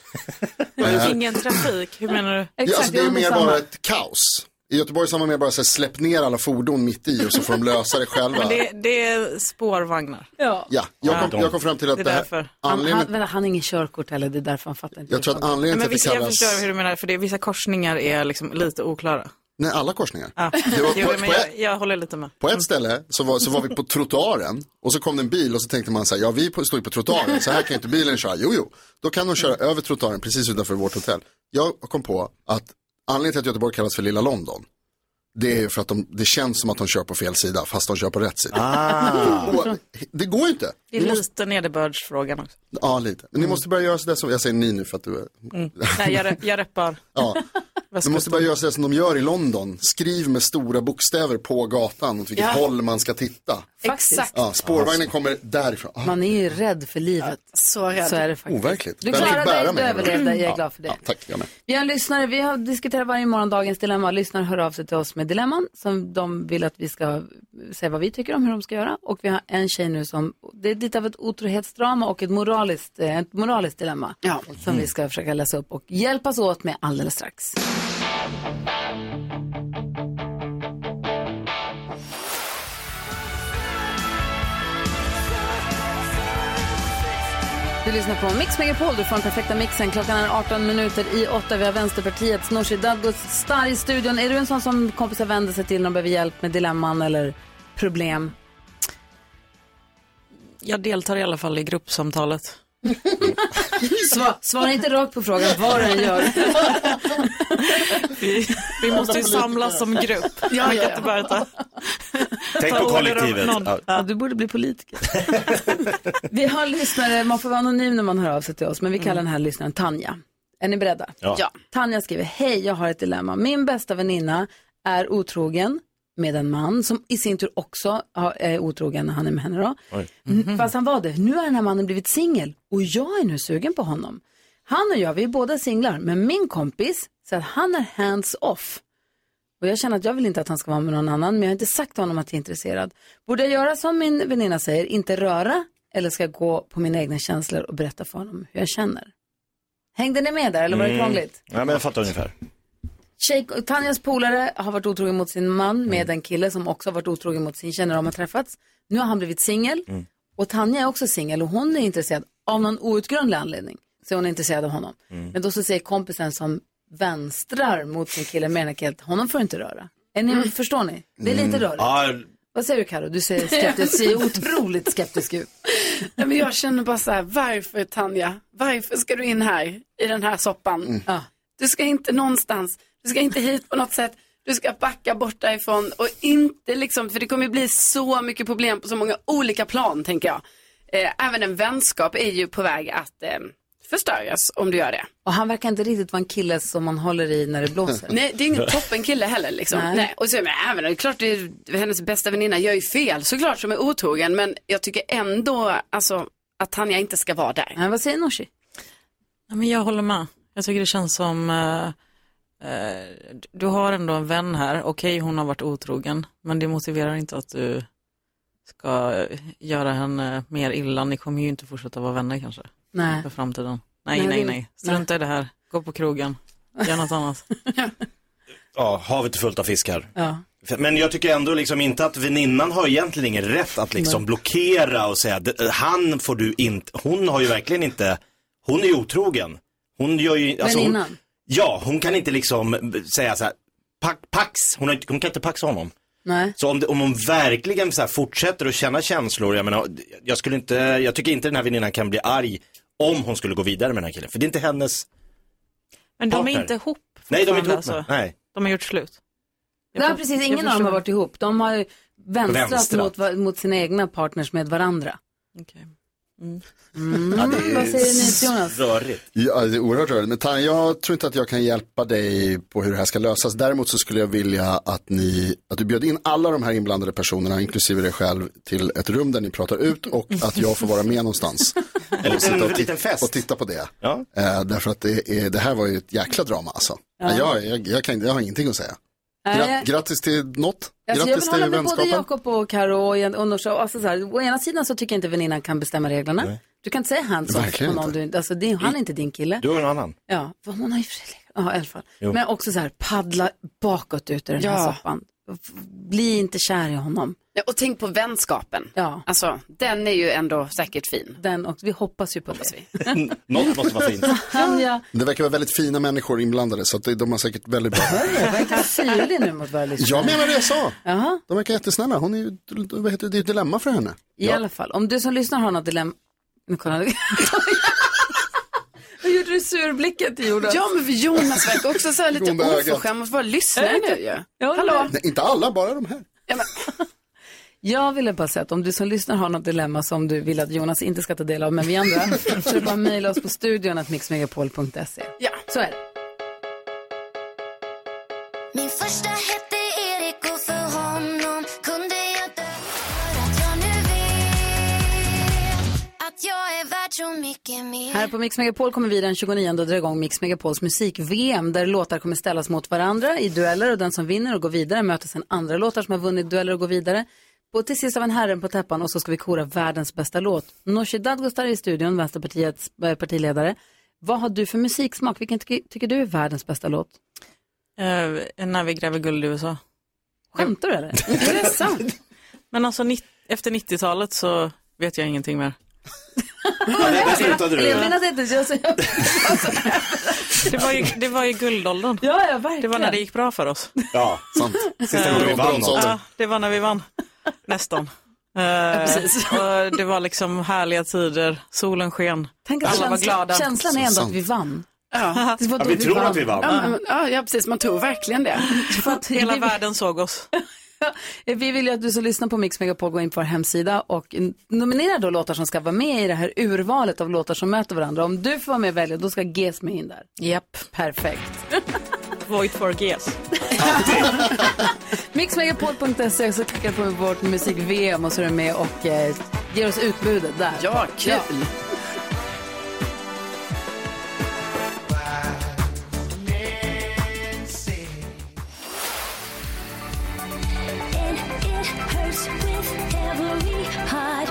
Eh,
Ingen trafik, hur menar du?
Ja, alltså, det är mer bara ett kaos. I Göteborg så har man mer bara så här, släpp ner alla fordon mitt i och så får de lösa det själva.
Men det, det är spårvagnar.
Ja.
Ja, jag kom, jag kom fram till att
Det är
det här,
därför.
Han, han,
anledningen
vänta, han har ingen körkort heller, det är därför han fattar inte.
Jag tror att
Nej,
anledningen
men
till
vissa,
att det
Jag förstår
kallas...
hur du menar, för det, vissa korsningar är liksom lite oklara.
Nej, alla korsningar.
Ja.
Det var
Jo,
på-
men
på-
jag, jag håller lite med.
På ett ställe så var, så var vi på trottoaren och så kom det en bil och så tänkte man så här, ja vi på- står ju på trottoaren, så här kan ju inte bilen köra. Jo, jo, då kan de köra över trottoaren precis utanför vårt hotell. Jag kom på att anledningen till att Göteborg kallas för lilla London, det är ju för att de, det känns som att de kör på fel sida, fast de kör på rätt sida.
Ah.
Och, det går ju inte.
Det är lite nederbördsfrågan också.
Ja, lite. Men ni måste börja göra sådär som, jag säger ni nu för att du är...
Mm. Nej, jag, re- jag reppar.
Ja. Du måste börja göra sådär som de gör i London, skriv med stora bokstäver på gatan åt vilket
Ja.
håll man ska titta.
Exakt.
Ja, spårvagnen kommer därifrån. Ah.
Man är ju rädd för livet.
Så rädd.
Så är det faktiskt.
Overkligt.
Du
Den
klarade
fick bära
dig, du
mig.
överlevde, jag är
Ja,
glad för det.
Ja, tack, jag med.
Vi har lyssnare, vi har diskuterat varje morgon dagens dilemma. Lyssnare hör av sig till oss med dilemman som de vill att vi ska säga vad vi tycker om hur de ska göra. Och vi har en tjej nu som, det är lite av ett otrohetsdrama och ett moraliskt, eh, ett moraliskt dilemma. Som vi ska försöka läsa upp och hjälpas åt med alldeles strax. Du lyssnar på Mix Megapol, du får den perfekta mixen. Klockan är 18 minuter i 8. Vi har Vänsterpartiets Nooshi Dadgostar i studion. Är du en sån som kompisar vänder sig till när de behöver hjälp med dilemman eller problem?
Jag deltar i alla fall i gruppsamtalet.
Sva- Svara inte rakt på frågan vad du än gör.
Vi, vi måste ju samlas som grupp.
Ja,
Man
ja,
kan
ja.
inte bara ta...
Tänk
ta
på
order av
kollektivet.
någon.
Ja, du borde bli politiker. Vi har lyssnare, man får vara anonym när man hör av sig till oss, men vi kallar den här lyssnaren Tanja. Är ni beredda?
Mm. Ja. Ja.
Tanja skriver, hej jag har ett dilemma. Min bästa väninna är otrogen med en man som i sin tur också har- är otrogen när han är med henne då. N- Fast han var det. Nu har den här mannen blivit singel och jag är nu sugen på honom. Han och jag, vi är båda singlar, men min kompis säger att han är hands off. Och jag känner att jag vill inte att han ska vara med någon annan, men jag har inte sagt till honom att jag är intresserad. Borde jag göra som min väninna säger, inte röra, eller ska jag gå på mina egna känslor och berätta för honom hur jag känner? Hängde ni med där, eller var det krångligt?
Mm. Ja, men jag fattar ungefär.
Tjej, Tanjas polare har varit otrogen mot sin man med en kille som också har varit otrogen mot sin tjej när de har träffats. Nu har han blivit singel
Mm.
och Tanja är också singel och hon är intresserad av någon outgrundlig anledning. Så hon är intresserad av honom.
Mm.
Men då så säger kompisen som vänstrar mot sin kille med ena killen, honom får du inte röra. Är ni, Förstår ni? Det är lite
Mm.
rörigt.
Ja,
Vad säger du Karo? Du ser skeptisk, ser otroligt skeptisk ut.
Nej, men jag känner bara så här, varför Tanja? Varför ska du in här i den här soppan? Du ska inte någonstans, du ska inte hit på något sätt. Du ska backa bort därifrån och inte liksom, för det kommer ju bli så mycket problem på så många olika plan tänker jag. Eh, även en vänskap är ju på väg att eh, förstöras om du gör det.
Och han verkar inte riktigt vara en kille som man håller i när det blåser.
Nej, det är ingen toppenkille heller liksom.
Nej.
Nej. Och så, men, även, det är klart, det är, hennes bästa väninna gör ju fel såklart som är otrogen. Men jag tycker ändå alltså, att Tanja inte ska vara där.
Nej, vad säger Nooshi?
Ja, men jag håller med. Jag tycker det känns som, eh, eh, du har ändå en vän här. Okej, hon har varit otrogen, men det motiverar inte att du ska eh, göra henne mer illa. Ni kommer ju inte fortsätta vara vänner kanske.
Nej.
För framtiden. Nej,
Nej,
nej, nej.
det-
Strunta i det här. Gå på krogen. Gör något annat.
Ja, havet är fullt av fiskar.
Ja.
Men jag tycker ändå liksom inte att väninnan har egentligen ingen rätt att liksom
Nej.
blockera och säga "D- han får du inte, hon har ju verkligen inte, hon är ju otrogen. Hon gör ju, alltså
Alltså-
hon,
Väninnan?
ja hon kan inte liksom b- säga så här, pax, pax. Hon, har, inte- hon kan inte paxa honom.
Nej.
Så om, det, om hon verkligen så här fortsätter att känna känslor, jag menar, jag skulle inte, jag tycker inte den här väninnan kan bli arg om hon skulle gå vidare med den här killen, för det är inte hennes
Men de
partner.
är inte ihop.
Nej, de är inte
fortfarande, alltså.
ihop nu. Nej.
De har gjort slut. Jag
Nej,
för-
precis.
jag
Ingen av dem
förstår.
har varit ihop. De har ju vänstrat,
Vänstrat.
Mot, va- mot sina egna partners med varandra.
Mm.
Ja,
Mm.
det är
Vad säger ni, Jonas?
Rörigt.
Ja, det är oerhört rörigt. Men Tanja, jag tror inte att jag kan hjälpa dig på hur det här ska lösas. Däremot så skulle jag vilja att, ni, att du bjöd in alla de här inblandade personerna, inklusive dig själv, till ett rum där ni pratar ut och att jag får vara med någonstans.
En
Och sitta och,
liten-
ti-
liten fest.
och titta på det.
Ja.
Eh, därför att det, är, det här var ju ett jäkla drama alltså.
Ja.
Jag, jag, jag, kan, jag har ingenting att säga.
Nej,
Grat,
jag-
Grattis till något.
Alltså, jag vill
grattis
hålla
till
med både
vänskapen.
Jakob och Karo och, Jan- och Norsa. Alltså, så här, å ena sidan så tycker jag inte väninnan kan bestämma reglerna. Du kan inte säga hands off på
Verkligen
någon. Du, alltså, det, är- han är inte din kille.
Du har en annan.
Ja, för hon har ju för sig legat- ja, i alla fall.
Jo.
Men också så här, paddla bakåt ut ur den här
Ja.
soppan. F- Bli inte kär i honom.
Ja, och tänk på vänskapen.
Ja.
Alltså, den är ju ändå säkert fin.
Den och vi hoppas ju på det.
Något måste vara fint.
Tanja,
Det verkar vara väldigt fina människor inblandade så att det- de har säkert väldigt bra.
verkar syrlig nu mot våra lyssnare.
Jag menar det jag sa.
Jaha.
De verkar jättesnälla. Hon är ju, vad heter det, det är ett dilemma för henne.
I alla fall, om du som lyssnar har något dilemma... Nu kollar jag. Vad gjorde du surblicken till Jonas?
Ja, men för Jonas verkar också så här lite
Goda ögat.
oförskämd mot våra lyssnare nu ju. Hallå?
Nej, inte alla, bara de här.
Jag ville bara säga att om du som lyssnar har något dilemma som du vill att Jonas inte ska ta del av, men vi andra, så är det bara att mejla oss på studion att mixmegapol.se.
Ja,
så är det.
Min första hette Erik och för honom kunde jag dö För att jag nu vet att jag är värd så mycket mer
Här på Mix Megapol kommer vi den 29 att dra igång Mix Megapols musik-VM där låtar kommer ställas mot varandra i dueller och den som vinner och går vidare möter sen andra låtar som har vunnit dueller och går vidare. Och till sist har vi en herren på täppan och så ska vi kora världens bästa låt. Nooshi Dadgostar är i studion, Vänsterpartiets eh, partiledare. Vad har du för musiksmak? Vilken tycker, tycker du är världens bästa låt?
Eh, när vi gräver guld i USA.
Skämtar du eller?
det är sant. Men alltså nitt- efter 90-talet så vet jag ingenting mer.
där slutade
Eller jag menar att det inte, jag, jag,
Det var ju, det var ju guldåldern.
Ja, ja, verkligen.
Det var när det gick bra för oss.
Ja, sant. Sista gången vi vann något.
Ja, det var när vi vann. Nästan. Eh,
precis.
och det var liksom härliga tider, solen sken,
Tänk att
alla var
känslan-
glada.
känslan är ändå att vi vann.
Ja.
Det var då Ja, vi vi tror vann. att vi vann.
Ja, men- ja, ja, precis. Man tror verkligen det.
För att
Hela världen såg oss.
Eh, Vi vill ju att du som lyssnar på Mix Megapol går in på vår hemsida och nominerar då låtar som ska vara med i det här urvalet av låtar som möter varandra. Om du får vara med och välja, då ska GES med in där.
Japp.
Perfekt.
Void for GES.
Mixmegapol.se så klickar du på vårt musik-VM och så är du med och eh, ger oss utbudet där.
Ja, kul.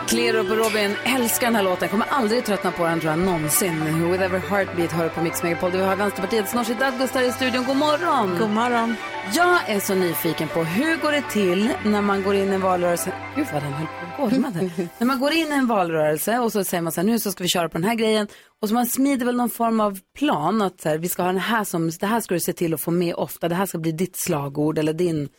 Klerup och Robin älskar den här låten, kommer aldrig tröttna på den tror jag någonsin. With every heartbeat hör du på Mix Megapol. Vi har Vänsterpartiets Nooshi Dadgostar i studion. God morgon! God morgon! Jag är så nyfiken på hur går det till när man går in i en valrörelse. Gud vad den höll på att gorma där. När man går in i en valrörelse och så säger man så här, nu så ska vi köra på den här grejen. Och så man smider väl någon form av plan att så här, vi ska ha den här som, det här ska du se till att få med ofta. Det här ska bli ditt slagord eller din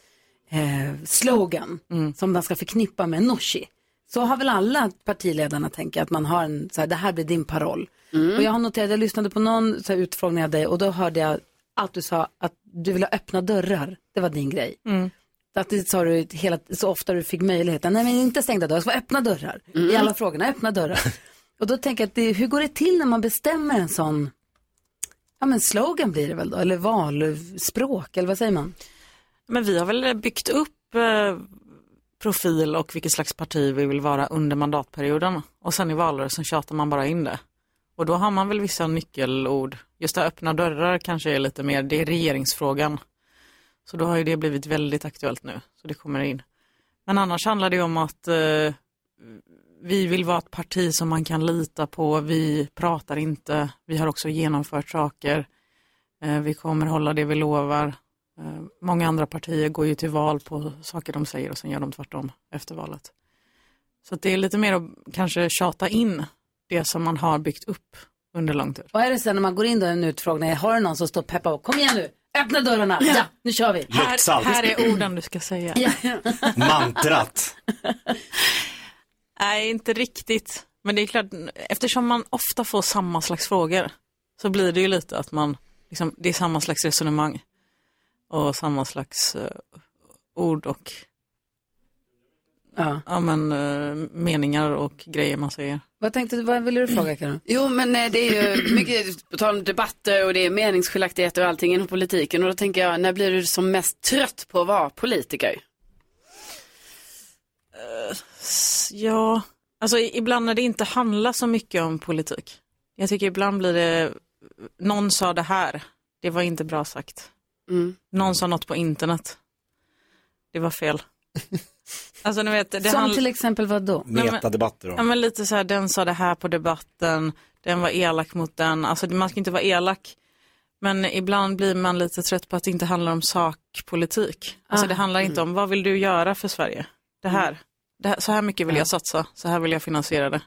eh, slogan som den ska förknippa med Nooshi. Så har väl alla partiledarna tänkt att man har en, så här, det här blir din paroll.
Mm.
Och jag har noterat, jag lyssnade på någon så här, utfrågning av dig och då hörde jag att du sa att du ville ha öppna dörrar, det var din grej. Att det sa du hela, så ofta du fick möjligheten, nej men inte stängda dörrar, det ska vara öppna dörrar. I alla frågorna, öppna dörrar. och då tänker jag, att det, hur går det till när man bestämmer en sån, ja men slogan blir det väl då, eller valspråk, eller vad säger man?
Men vi har väl byggt upp eh, profil och vilket slags parti vi vill vara under mandatperioden. Och sen i valrörelsen tjatar man bara in det. Och då har man väl vissa nyckelord. Just det här öppna dörrar kanske är lite mer, det är regeringsfrågan. Så då har ju det blivit väldigt aktuellt nu, så det kommer in. Men annars handlar det ju om att eh, vi vill vara ett parti som man kan lita på, vi pratar inte, vi har också genomfört saker, eh, vi kommer hålla det vi lovar. Eh, många andra partier går ju till val på saker de säger och sen gör de tvärtom efter valet. Så att det är lite mer att kanske tjata in det som man har byggt upp under lång tid.
Vad är det sen när man går in då i en utfrågning, har du någon som står och peppar och kom igen nu, öppna dörrarna, ja, nu kör vi.
Här, här är orden du ska säga.
Mantrat.
Nej, inte riktigt. Men det är klart, eftersom man ofta får samma slags frågor så blir det ju lite att man, liksom, det är samma slags resonemang och samma slags eh, ord och
ja.
men, eh, meningar och grejer man säger.
Vad tänkte du, vad ville du fråga Karin?
Jo, men eh, det är ju mycket på tal om debatter och det är meningsskiljaktigheter och allting inom politiken. Och då tänker jag, när blir du som mest trött på att vara politiker?
S- Eh, Ja, alltså i- ibland när det inte handlar så mycket om politik. Jag tycker ibland blir det, någon sa det här, det var inte bra sagt.
Mm.
Någon sa något på internet, det var fel. Alltså ni vet, det
Som
handl-
till exempel vad då?
Nej, men-
Metadebatter då.
Ja men lite så här, den sa det här på debatten, den var elak mot den, alltså man ska inte vara elak. Men ibland blir man lite trött på att det inte handlar om sakpolitik. Alltså
Ah, Mm.
det handlar inte om, vad vill du göra för Sverige? Det här, det här så här mycket vill
Ja.
jag satsa, så här vill jag finansiera det.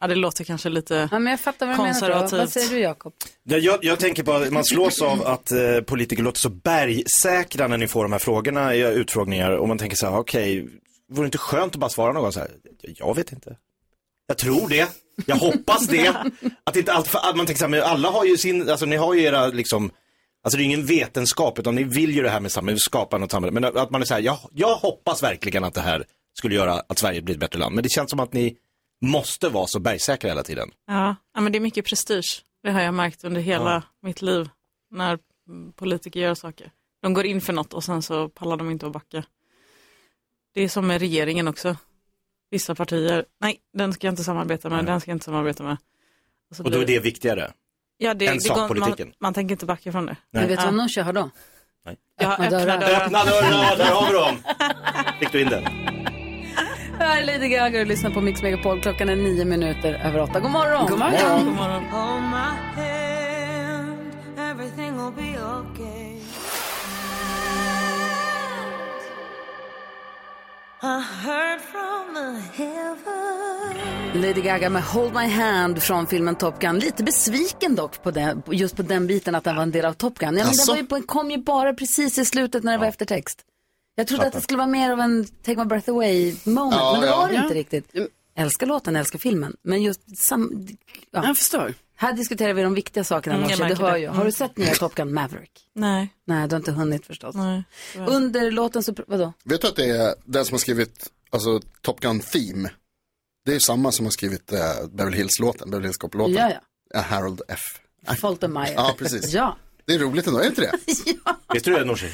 Ja,
det låter kanske lite
Ja, men jag fattar vad du menar. Dora.
konservativt.
Vad säger du Jakob?
Jag, jag, jag tänker på att man slås av att eh, politiker låter så bergsäkra när ni får de här frågorna i utfrågningar och man tänker så här, okej, vore det inte skönt att bara svara någon så här, jag vet inte. Jag tror det, jag hoppas det. Att inte allt, för, att man tänker så här, men alla har ju sin, alltså ni har ju era liksom, alltså det är ju ingen vetenskap utan ni vill ju det här med samhället, skapa något samhälle. Men att man är så här, jag, jag hoppas verkligen att det här skulle göra att Sverige blir ett bättre land. Men det känns som att ni måste vara så bergsäkra hela tiden.
Ja, ja, men det är mycket prestige. Det har jag märkt under hela
Ja.
mitt liv när mm, politiker gör saker. De går in för något och sen så pallar de inte att backa. Det är som med regeringen också. Vissa partier, nej, den ska jag inte samarbeta med, den ska jag inte samarbeta med. så
Och då
blir
är det viktigare.
Ja, det,
än
det går, man,
sakpolitiken.
man tänker inte backa från det.
Nej. Men vet du vad
Nooshi har då?
Ja,
Öppna
öppna
dörrar.
dörrar.
Öppna dörrar, där har vi dem. Fick du in den?
Här är Lady Gaga och lyssnar på Mix Megapol. Klockan är nio minuter över åtta. God morgon!
God morgon. God
Hold my hand, everything will be okay. I heard from the heaven.
Lady Gaga med Hold My Hand från filmen Top Gun. Lite besviken dock på den, just på den biten att den var en del av Top Gun. Ja, men den
Asså?
var ju, på- kom ju bara precis i slutet när det var eftertext. Jag trodde att det
Fattar.
skulle vara mer av en Take My Breath Away moment,
Ja,
men det
ja.
var det
Ja.
inte riktigt.
Mm.
Älskar låten, älskar filmen, men just sam... Ja.
Jag förstår.
Här diskuterar vi de viktiga sakerna,
Mm, jag
Lars, det
märker
hör
det.
jag. Har
Mm.
du sett nya Top Gun Maverick?
Nej.
Nej, du har inte hunnit förstås.
Nej, tyvärr.
Under låten så, pr- vadå?
Vet du att det är den som har skrivit alltså, Top Gun Theme? Det är samma som har skrivit eh, Beverly Hills-låten, Beverly Hills Cop-låten.
Ja, ja.
Eh, Harold F.
Fulton Meyer.
Ja, precis.
Ja.
Det är roligt ändå, är det inte det?
Visste du det, Nooshi?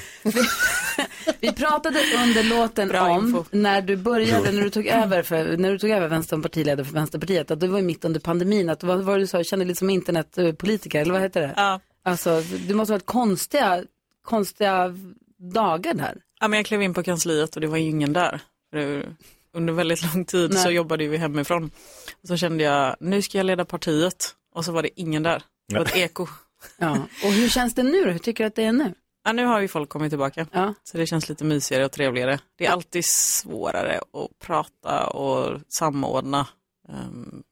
Vi pratade under låten om när du började, när du tog över, för, när du tog över vänstern partiledare för Vänsterpartiet, att det var ju mitt under pandemin, att vad var det du sa, jag kände lite som internetpolitiker, eller vad heter det?
Ja.
Alltså, det måste ha varit konstiga, konstiga dagar där.
Ja, men jag klev in på kansliet och det var ju ingen där. För det- under väldigt lång tid
Nej.
så jobbade ju vi hemifrån. Och så kände jag, nu ska jag leda partiet. Och så var det ingen där. Det var ett eko.
Ja. Och hur känns det nu då? Hur tycker du att det är nu?
Ja, nu har ju folk kommit tillbaka. Så det känns lite mysigare och trevligare. Det är alltid svårare att prata och samordna ehm,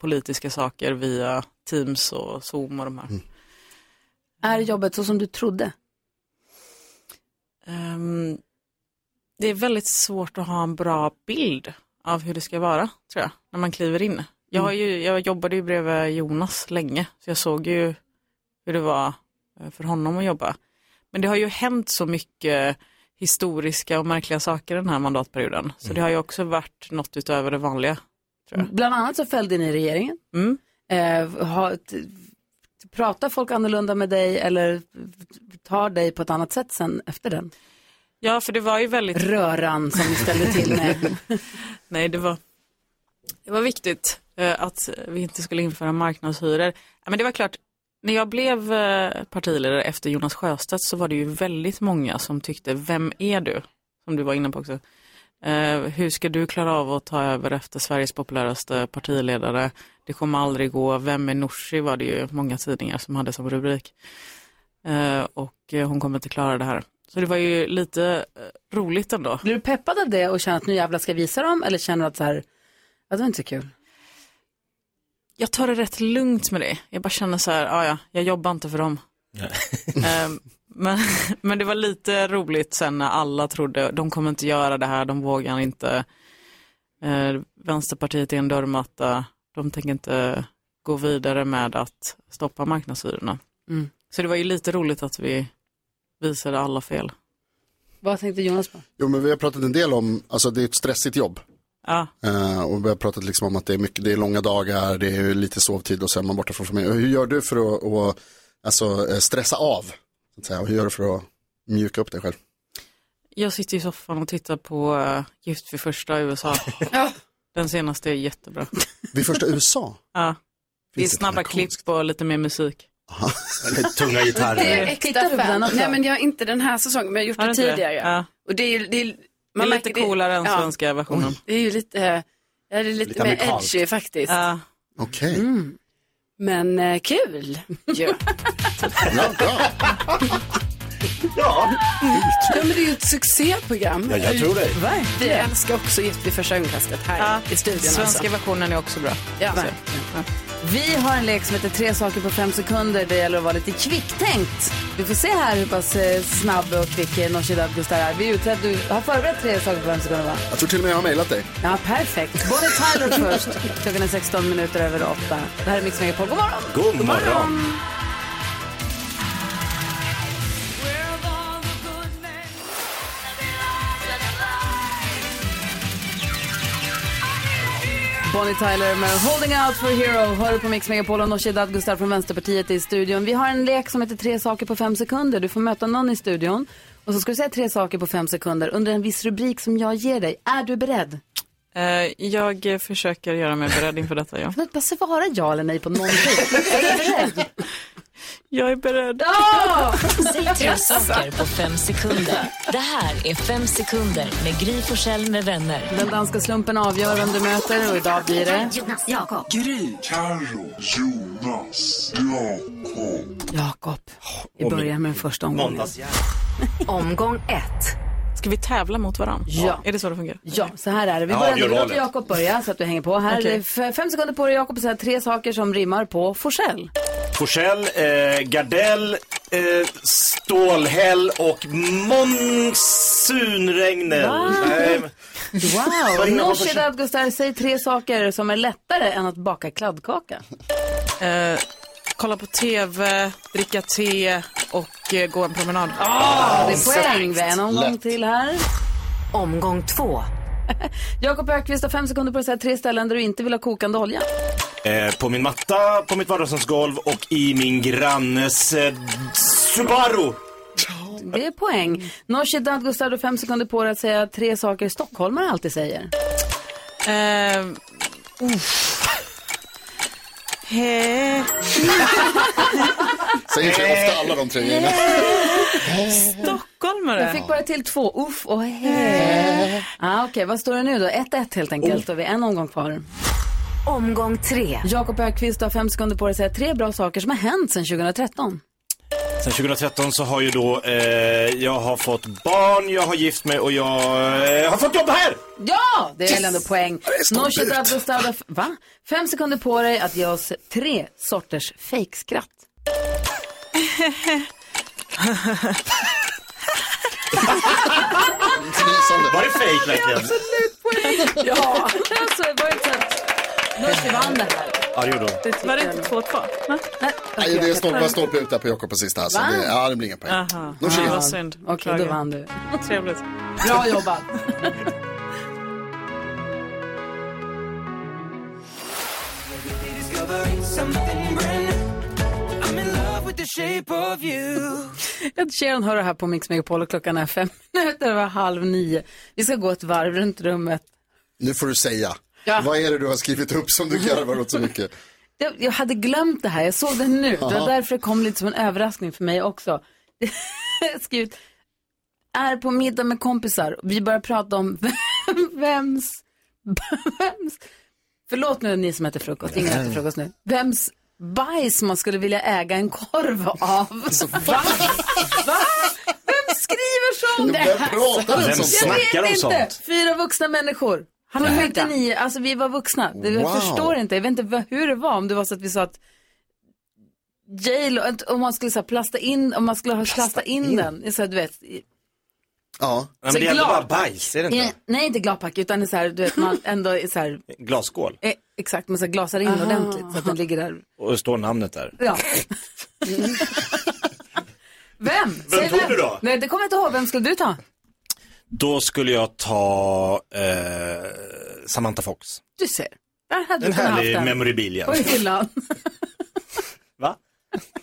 politiska saker via Teams och Zoom och de här.
Är jobbet så som du trodde?
Ehm, det är väldigt svårt att ha en bra bild av hur det ska vara, tror jag, när man kliver in. Jag,
Mm.
har ju, jag jobbade ju bredvid Jonas länge, så jag såg ju hur det var eh, för honom att jobba. Men det har ju hänt så mycket historiska och märkliga saker den här mandatperioden, så
Mm.
det har ju också varit något utöver det vanliga.
Bland annat så följde ni regeringen.
Mm.
Eh, ha, t- pratar folk annorlunda med dig eller tar dig på ett annat sätt sen efter den?
Ja, för det var ju väldigt...
Röran som ställde till med.
Nej, det var, det var viktigt eh, att vi inte skulle införa marknadshyror. Ja, men det var klart, när jag blev eh, partiledare efter Jonas Sjöstedt så var det ju väldigt många som tyckte, vem är du? Som du var inne på också. Eh, hur ska du klara av att ta över efter Sveriges populäraste partiledare? Det kommer aldrig gå. Vem är Nooshi? var det ju många tidningar som hade som rubrik. Eh, och eh, hon kommer inte klara det här. Så det var ju lite eh, roligt ändå.
Blir du peppad av det och känner att nu jävlar ska jag visa dem eller känner du att så här, ja, det var inte så kul?
jag tar det rätt lugnt med det. Jag bara känner så här, "Ah, ja, jag jobbar inte för dem. Ehm, men, men det var lite roligt sen när alla trodde, de kommer inte göra det här, de vågar inte. Eh, Vänsterpartiet är en dörrmatta, de tänker inte gå vidare med att stoppa marknadshyrorna.
Mm.
Så det var ju lite roligt att vi visade alla fel.
Vad tänkte Jonas på?
Jo, men vi har pratat en del om, alltså det är ett stressigt jobb.
Ja.
Eh, och vi har pratat liksom om att det är, mycket, det är långa dagar, det är lite sovtid och så är man borta från familjen. Hur gör du för att och, alltså, eh, stressa av? Så att säga? Och hur gör du för att mjuka upp dig själv?
Jag sitter i soffan och tittar på eh, Gift vid första i USA. Den senaste är jättebra.
Vid första USA?
Ja. Det är snabba klipp och lite mer musik.
Tunga gitarrer.
Det är äkta
på den
fan.
också?
Nej men jag har inte den här säsongen men jag har gjort
Har du
det
inte det?
tidigare.
Ja.
Och det är ju, det är,
Det är lite
märker
coolare än
ja.
svenska versionen.
Det är ju lite, eh, ja, det är lite,
Lite
mer
amerikanskt.
edgy faktiskt.
Ja.
Okej.
Mm. Men eh, kul ju.
Ja.
ja, men det är ju ett succéprogram.
Ja, jag tror det.
Vi älskar också Gift vid första ögonkastet här i studion. alltså.
Svenska versionen är också bra.
Ja.
Så.
Vi har en lek som heter Tre saker på fem sekunder. Det gäller att vara lite kvicktänkt. Vi får se här hur pass eh, snabb och kvick eh, Nooshi Dadgostar är. Vi är ute, du har förberett tre saker på fem sekunder va?
Jag tror till och med jag har mejlat dig.
Ja, perfekt. Bonnie Tyler först. Klockan är 16 minuter över 8. Det här är Mix Megapol. God morgon!
God morgon.
Bonnie Tyler med Holding Out for a Hero. Hör du på Mix Megapol och Nooshi Dadgostar från Vänsterpartiet är i studion. Vi har en lek som heter Tre saker på fem sekunder. Du får möta någon i studion. Och så ska du säga tre saker på fem sekunder under en viss rubrik som jag ger dig. Är du beredd?
Eh, jag eh, försöker göra mig beredd inför detta, ja.
Kan du inte bara svara ja eller nej på typ. någonting? är du beredd?
Jag är beredd.
Ja!
Säg tre saker på fem sekunder. Det här är Fem sekunder med Gry Forssell med vänner.
Den danska slumpen avgör vem du möter och idag blir det...
Jonas, Jakob.
Gry.
Carro, Jonas, Jakob.
Jakob. Vi börjar med den första omgången.
Omgång ett.
Ska vi tävla mot varandra?
Ja.
Är det så det fungerar?
Ja, så här är det. Vi
Ja,
börjar
avgör
nu. Vi låter
valet.
Jakob börja så att du hänger på. Här
Okej.
är f- fem sekunder på dig Jakob att säga tre saker som rimmar på Forsell.
Forsell, eh, Gardell, eh, Stålhäll och monsunregnet.
Va?
Nej, men- Vad
Wow!
rimmar på
Nooshi
Forsell?
Dadgostar, säg tre saker som är lättare än att baka kladdkaka.
Eh, kolla på TV, dricka te och eh, gå en promenad.
Ah, det är poäng. Vi har en omgång
Lätt.
till här. Omgång två. Jakob Ökvist har fem sekunder på dig att säga tre ställen där du inte vill ha kokande olja.
Eh, på min matta, på mitt vardagsrumsgolv och i min grannes eh, Subaru.
Det är poäng. Nooshi Dadgostar, du har fem sekunder på dig att säga tre saker stockholmare alltid säger.
Eh, uff. He-
Säger sig ofta alla de tre grejerna.
Stockholmare.
Jag fick bara till två. Uff och he. Ah, Okej, vad står det nu då? 1-1 helt enkelt. Då har vi en omgång kvar. Omgång tre. Jakob Ökvist har fem sekunder på dig att säga tre bra saker som har hänt sedan 2013.
Sen 2013 så har ju då, eh, jag har fått barn, jag har gift mig och jag eh, har fått
Ah!
jobb här!
Ja, det är väl ändå poäng.
stolt
Nooshi
ut.
Dadgostar, va? Fem sekunder på dig att ge oss tre sorters fejkskratt.
Var det fejk verkligen?
Absolut poäng. Ja, alltså det var inte så att Nooshi vann det här.
Ja, det gjorde hon.
Var det inte två två? Va?
Nej, det är stolp, bara stolpe ut där på Jakob på sista. Alltså.
Va?
Det, ja, det blir ingen poäng.
Aha.
Då kör
Ja,
jag.
vad synd.
Okej, då
Beklagar.
vann du.
Trevligt.
Bra jobbat. Ed Sheeran hör det här på Mix Megapol och klockan är fem minuter över halv nio. Vi ska gå ett varv runt rummet.
Nu får du säga. Vad är det du har skrivit upp som du garvar åt så mycket?
Jag, jag hade glömt det här, jag såg det nu. Det
Ja.
var därför det kom lite som en överraskning för mig också. Jag har skrivit, är på middag med kompisar. Vi börjar prata om vem, vems, vems, förlåt nu ni som äter frukost, ingen äter frukost nu. Vems bajs man skulle vilja äga en korv av. Va? Va? Vem skriver sånt?
Vem pratar ens om sånt?
Jag vet
Snackar om
inte.
sånt?
Fyra vuxna människor. Han var
Nej.
59, alltså vi var vuxna. Det,
Wow.
Jag förstår inte, jag vet inte vad- hur det var om det var så att vi sa att Jail, om man skulle så här, plasta in, om man skulle ha plasta in, den. Så här, du vet, i-
Ja.
Men
Så
det är ändå bara
glad.
bajs, är det inte?
i- nej inte gladpack utan så här, du vet man ändå är så här,
Glasskål.
eh, exakt man så här, glasar in ordentligt så att den ligger där.
Och det står namnet där.
Ja.
Mm.
vem? Säg
tog du då?
Nej det kommer jag inte ihåg, vem skulle du ta?
Då skulle jag ta eh, Samantha Fox.
Du ser, där hade
En
du kunnat haft
härlig
den.
memorabilia.
På hyllan.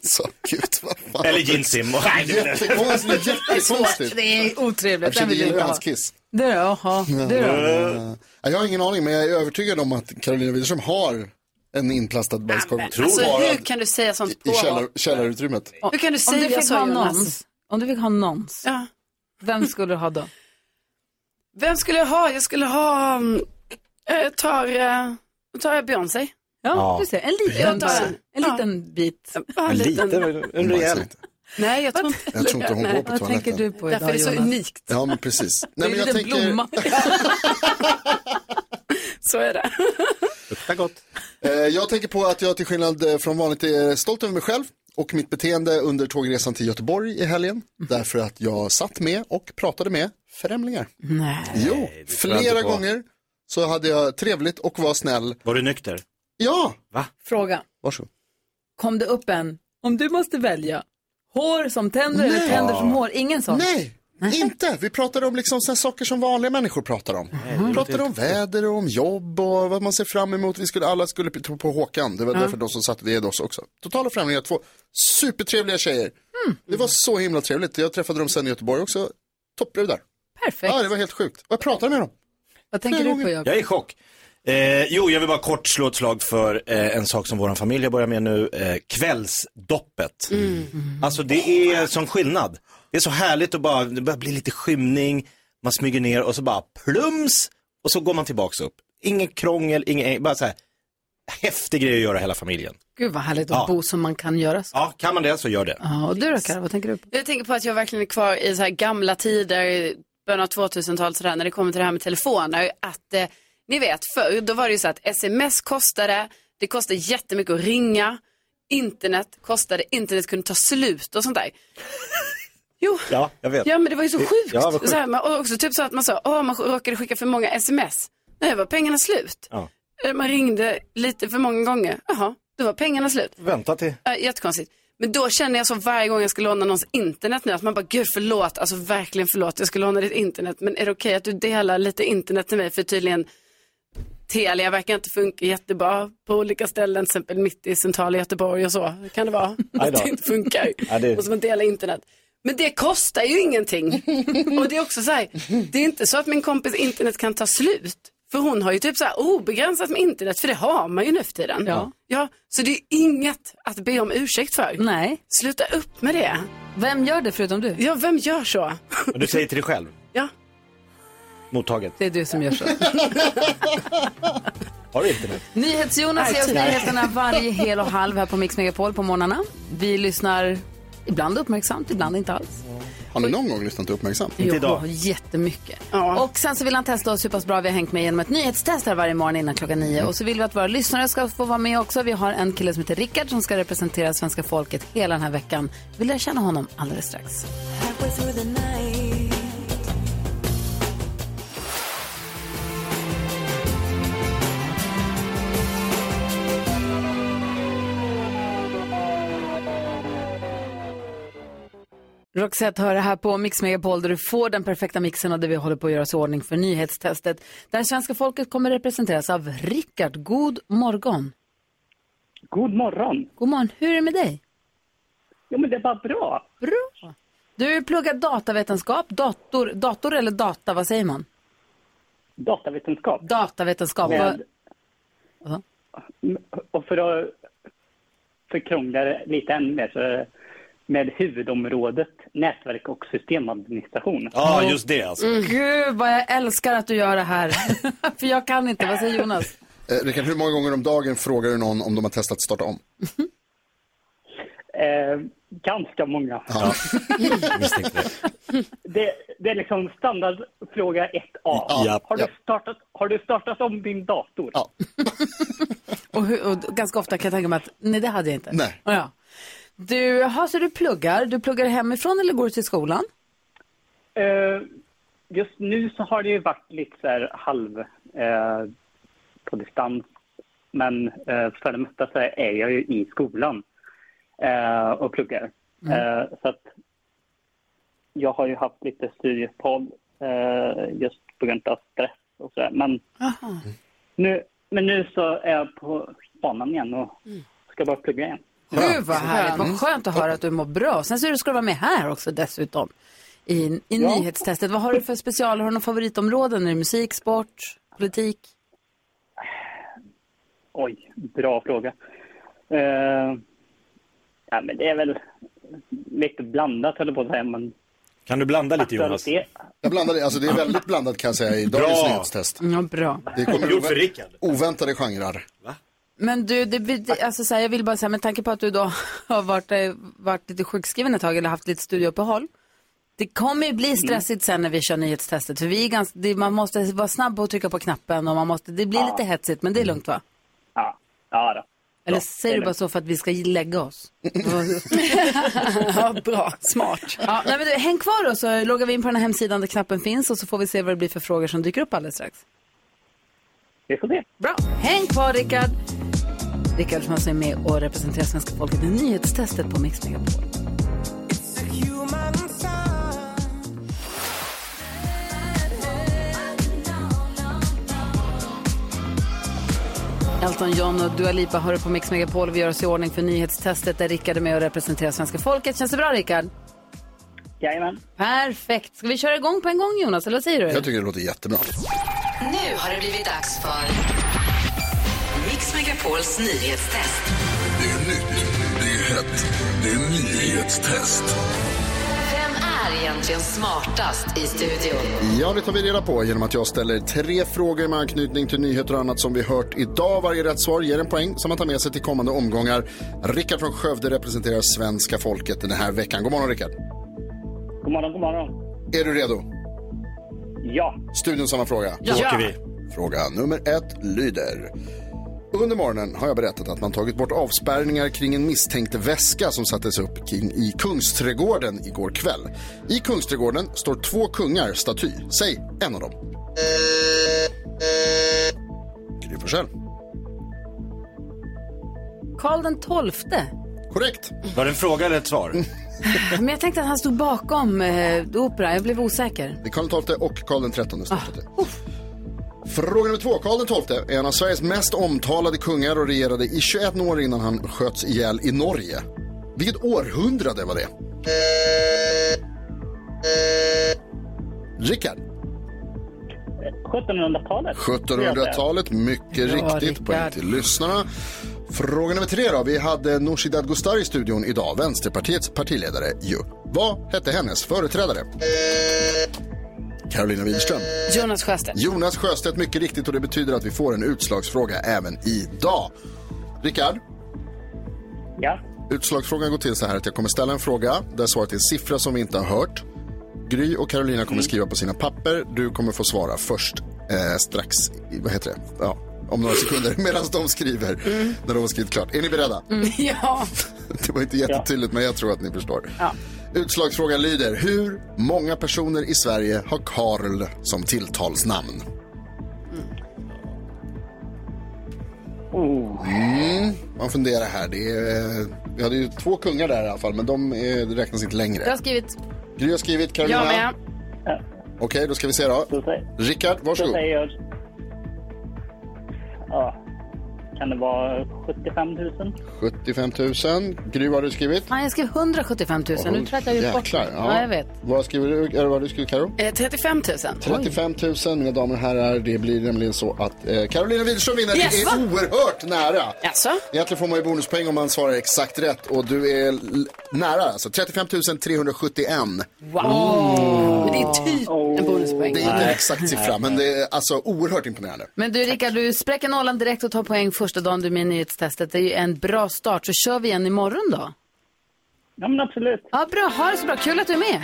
Så gud vad fan.
Eller ginsim.
Jättekonstigt, jättekonstigt.
Det är
Jag
otrevligt, den
försökte
vill
gilla
jag inte ha.
hans kiss.
Du då, jaha, du då?
Ja, Jag har ingen aning, men jag är övertygad om att Carolina Widerström har en inplastad bajskorv.
Alltså hur
Sparad
kan du säga sånt
I
på
källar, källarutrymmet.
Hur kan du
om
säga
du fick
så
ha
Jonas?
någons, Om du fick ha någons, vem skulle du ha då?
Vem skulle jag ha? Jag skulle ha, mm, jag tar, eh, då tar jag Beyoncé.
Ja, du ser, en liten,
Jag tar den.
en liten bit.
En liten.
en rejäl.
Nej, jag tror inte,
Jag tror inte hon går på
Vad
toaletten.
tänker du på idag
Därför är det så
Jonas?
unikt.
Ja, men precis.
Det är
Nej,
en
men jag
liten
tänker,
blomma.
så är det.
Luktar gott.
Eh, Jag tänker på att jag till skillnad eh, från vanligt är stolt över mig själv och mitt beteende under tågresan till Göteborg i helgen. Därför att jag satt med och pratade med främlingar.
Nej.
Jo,
det tror jag
flera
inte på.
gånger så hade jag trevligt och var snäll.
Var du nykter?
Ja,
Fråga,
varsågod.
kom det upp en, om du måste välja, hår som tänder eller
Nej.
tänder som
Ja.
hår? Ingen sån?
Nej, inte. Vi pratade om liksom såna saker som vanliga människor pratar om. Vi pratade om väder och om jobb och vad man ser fram emot. Vi skulle, alla skulle tro på Håkan. Det var
Ja.
därför de som satt vid oss också. Totala främlingar, två supertrevliga tjejer.
Mm.
Det var så himla trevligt. Jag träffade dem sen i Göteborg också. Toppbrudar.
Perfekt.
Ja, det var helt sjukt. Och jag pratade med dem.
Vad tänker du på Jakob?
Jag är i chock. Eh, jo, jag vill bara kort slå ett slag för eh, en sak som vår familj har börjat med nu, eh, kvällsdoppet.
Mm.
Alltså det är som skillnad. Det är så härligt att bara, det börjar bli lite skymning, man smyger ner och så bara plums och så går man tillbaks upp. Inget krångel, inget, bara så här häftig grej att göra hela familjen.
Gud vad härligt att
Ja.
bo som man kan göra så.
Ja, kan man det så gör det.
Ja, och du då Karin, vad tänker du på?
Jag tänker på att jag verkligen är kvar i så här gamla tider, början av 2000-talet sådär, när det kommer till det här med telefoner. Att, eh, ni vet, förr då var det ju så att sms kostade, det kostade jättemycket att ringa, internet kostade, internet kunde ta slut och sånt där.
Ja, jag vet.
Ja men det var ju så sjukt.
Ja, vad
Så här, man, och också typ så att man sa, åh man råkade skicka för många sms. Nej, var pengarna slut.
Ja.
Eh, Man ringde lite för många gånger, jaha, då var pengarna slut.
Vänta till...
Äh, jättekonstigt. Men då känner jag så varje gång jag ska låna någons internet nu att man bara, gud förlåt, alltså verkligen förlåt, jag ska låna ditt internet. Men är det okej att du delar lite internet till mig? För tydligen Telia verkar inte funka jättebra på olika ställen, till exempel mitt i centrala Göteborg och så. Kan det vara?
Aj
Att
då.
det inte funkar.
Ja, det-
Och så man delar internet. Men det kostar ju ingenting. Och det är också så här, det är inte så att min kompis internet kan ta slut. För hon har ju typ så här obegränsat med internet, för det har man ju nu för tiden.
Ja.
ja så det är inget att be om ursäkt för.
Nej.
Sluta upp med det.
Vem gör det förutom du?
Ja, vem gör så?
Och du säger till dig själv?
Ja.
Mottaget.
Det är du som gör så.
Har du internet?
NyhetsJonas ger oss
Nej.
nyheterna varje hel och halv här på Mix Megapol på morgnarna. Vi lyssnar ibland uppmärksamt, ibland inte alls.
Har ni någon gång lyssnat uppmärksamt?
Jo, jättemycket. Och sen så vill han testa oss hur pass bra vi har hängt med genom ett nyhetstest här varje morgon innan klockan nio. Och så vill vi att våra lyssnare ska få vara med också. Vi har en kille som heter Rickard som ska representera svenska folket hela den här veckan. Vi lär känna honom alldeles strax.
Halfway through the night.
Roxette hör det här på Mix Megapol där du får den perfekta mixen och där vi håller på att göra oss i ordning för nyhetstestet. Där svenska folket kommer representeras av Rickard. God morgon.
God morgon.
God morgon. Hur är det med dig?
Jo, men det var bra.
Bra. Du pluggar datavetenskap, dator, dator eller data, vad säger man?
Datavetenskap.
Datavetenskap.
Med,
Vad-
och för att förkrångla det lite ännu mer så är det med huvudområdet nätverk och systemadministration.
Ja, just det alltså.
Mm. Gud vad jag älskar att du gör det här. För jag kan inte, vad säger Jonas?
Eh, Rickard, hur många gånger om dagen frågar du någon om de har testat starta om?
Eh, ganska många.
Ja.
Det, det är liksom standardfråga 1A.
Ja.
Har, du
Ja.
startat, har du startat om din dator?
Och, hur, och ganska ofta kan jag tänka mig att nej det hade jag inte.
Nej.
Ja. Du, jaha, så du pluggar. Du pluggar hemifrån eller går du till skolan?
Eh, just nu så har det ju varit lite så här halv eh, på distans. Men eh, för det mesta så är jag ju i skolan eh, och pluggar.
Mm.
Eh, så att jag har ju haft lite studiepodd eh, just på grund av stress och så där. Men
Jaha.
nu, men nu så är jag på banan igen och ska bara plugga igen.
Gud vad härligt, vad skönt att höra att du mår bra. Sen så är det- ska du vara med här också dessutom i, i
Ja.
nyhetstestet. Vad har du för special, har du några favoritområden? Är det musik, sport, politik?
Oj, bra fråga. Eh, ja, men det är väl lite blandat, höll jag på att säga. Men
Kan du blanda lite Jonas?
aktualitet.
Jag blandar, alltså det är väldigt blandat kan jag säga i dagens
Bra.
nyhetstest.
Ja, bra.
Det kommer
Gjort för
ovä- oväntade genrer.
Men du, det, blir- det, alltså så här, jag vill bara säga, med tanke på att du då har varit, eh, varit lite sjukskriven ett tag eller haft lite studieuppehåll. Det kommer ju
Mm.
bli stressigt sen när vi kör nyhetstestet. För vi är ganska, det, man måste vara snabb på att trycka på knappen och man måste, det blir
Ja.
lite hetsigt men det är lugnt va?
Ja, ja då.
Eller
Ja,
säger
det är
du bara så för att vi ska lägga oss?
ja, bra, smart.
Ja, nej, men du, häng kvar och så loggar vi in på den här hemsidan där knappen finns och så får vi se vad det blir för frågor som dyker upp alldeles strax.
Vi får se.
Bra, häng kvar Rickard. Rickard som alltså är med och representerar svenska folket i nyhetstestet på Mix Megapol. Elton John och Dua Lipa hör på Mix Megapol. Vi gör oss i ordning för nyhetstestet där Rickard är med och representerar svenska folket. Känns det bra Rickard?
Jajamän.
Perfekt. Ska vi köra igång på en gång Jonas, eller vad säger du?
Jag tycker det låter jättebra.
Nu har det blivit dags för Mix Megapols nyhetstest.
Det är nytt, det är hett, det är nyhetstest.
Vem är egentligen smartast i studion?
Ja, det tar vi reda på genom att jag ställer tre frågor med anknytning till nyheter och annat som vi hört idag. Varje rätt svar ger en poäng som man tar med sig till kommande omgångar. Rickard från Skövde representerar svenska folket den här veckan. God morgon Rickard!
God morgon, god morgon.
Är du redo?
Ja.
Studion samma fråga.
Ja. Då åker vi.
Fråga nummer ett lyder. Under morgonen har jag berättat att man tagit bort avspärrningar kring en misstänkt väska som sattes upp kring i Kungsträdgården igår kväll. I Kungsträdgården står två kungar staty. Säg en av dem. Gry Forssell.
Karl den tolfte.
Korrekt.
Var det en fråga eller ett svar?
Men jag tänkte att han stod bakom eh, opera. Jag blev osäker.
Det är Karl XII och Karl XIII står det. Fråga nummer två. Karl XII är en av Sveriges mest omtalade kungar och regerade i 21 år innan han sköts ihjäl i Norge. Vilket århundrade var det? Rickard.
1700-talet.
1700-talet, mycket
Ja,
riktigt. Poäng till lyssnarna. Fråga nummer tre då. Vi hade Nooshi Dadgostar i studion idag, Vänsterpartiets partiledare ju. Vad hette hennes företrädare? Carolina Widerström.
Jonas Sjöstedt.
Jonas Sjöstedt, mycket riktigt och det betyder att vi får en utslagsfråga även idag. Rickard?
Ja?
Utslagsfrågan går till så här att jag kommer ställa en fråga där svaret är en siffra som vi inte har hört. Gry och Carolina kommer skriva på sina papper. Du kommer få svara först eh, strax, i- vad heter det? Ja, om några sekunder medan de skriver. När de har skrivit klart. Är ni beredda?
Mm, ja.
Det var inte jättetydligt men jag tror att ni förstår.
ja.
Utslagsfrågan lyder, hur många personer i Sverige har Karl som tilltalsnamn? Mm, man funderar här. Det är, eh, vi hade ju två kungar där i alla fall, men de eh, det räknas inte längre.
Jag har skrivit.
Gry har skrivit, Carolina. Okej, då ska vi se då. Rickard,
Då
varsågod.
säger jag... Ja. Kan det vara 75 000?
75 000. Gry, vad har du skrivit?
Nej, jag skrev 175 000. Nu tror jag att jag har gjort bort
Jäklar,
mig.
ja.
ja, jag vet.
Vad skriver du, eller vad har du skrivit, Karo?
Eh, 35 000.
35 000, mina damer och herrar. Det blir nämligen så att eh, Carolina Widerström vinner.
Yes,
det är
va?
oerhört nära.
Alltså?
Egentligen får man ju bonuspoäng om man svarar exakt rätt. Och du är l- nära, alltså. 35 371.
Wow! Men det är typ en bonuspoäng.
Mm. Det är inte en
Nej.
exakt siffra, men det är alltså oerhört imponerande.
Men du Rickard, du spräcker nollan direkt och tar poäng första dagen du är med i nyhetstestet. Det är ju en bra start. Så kör vi igen imorgon då.
Ja, men absolut.
Ja, bra. Ha det så bra. Kul att du är med.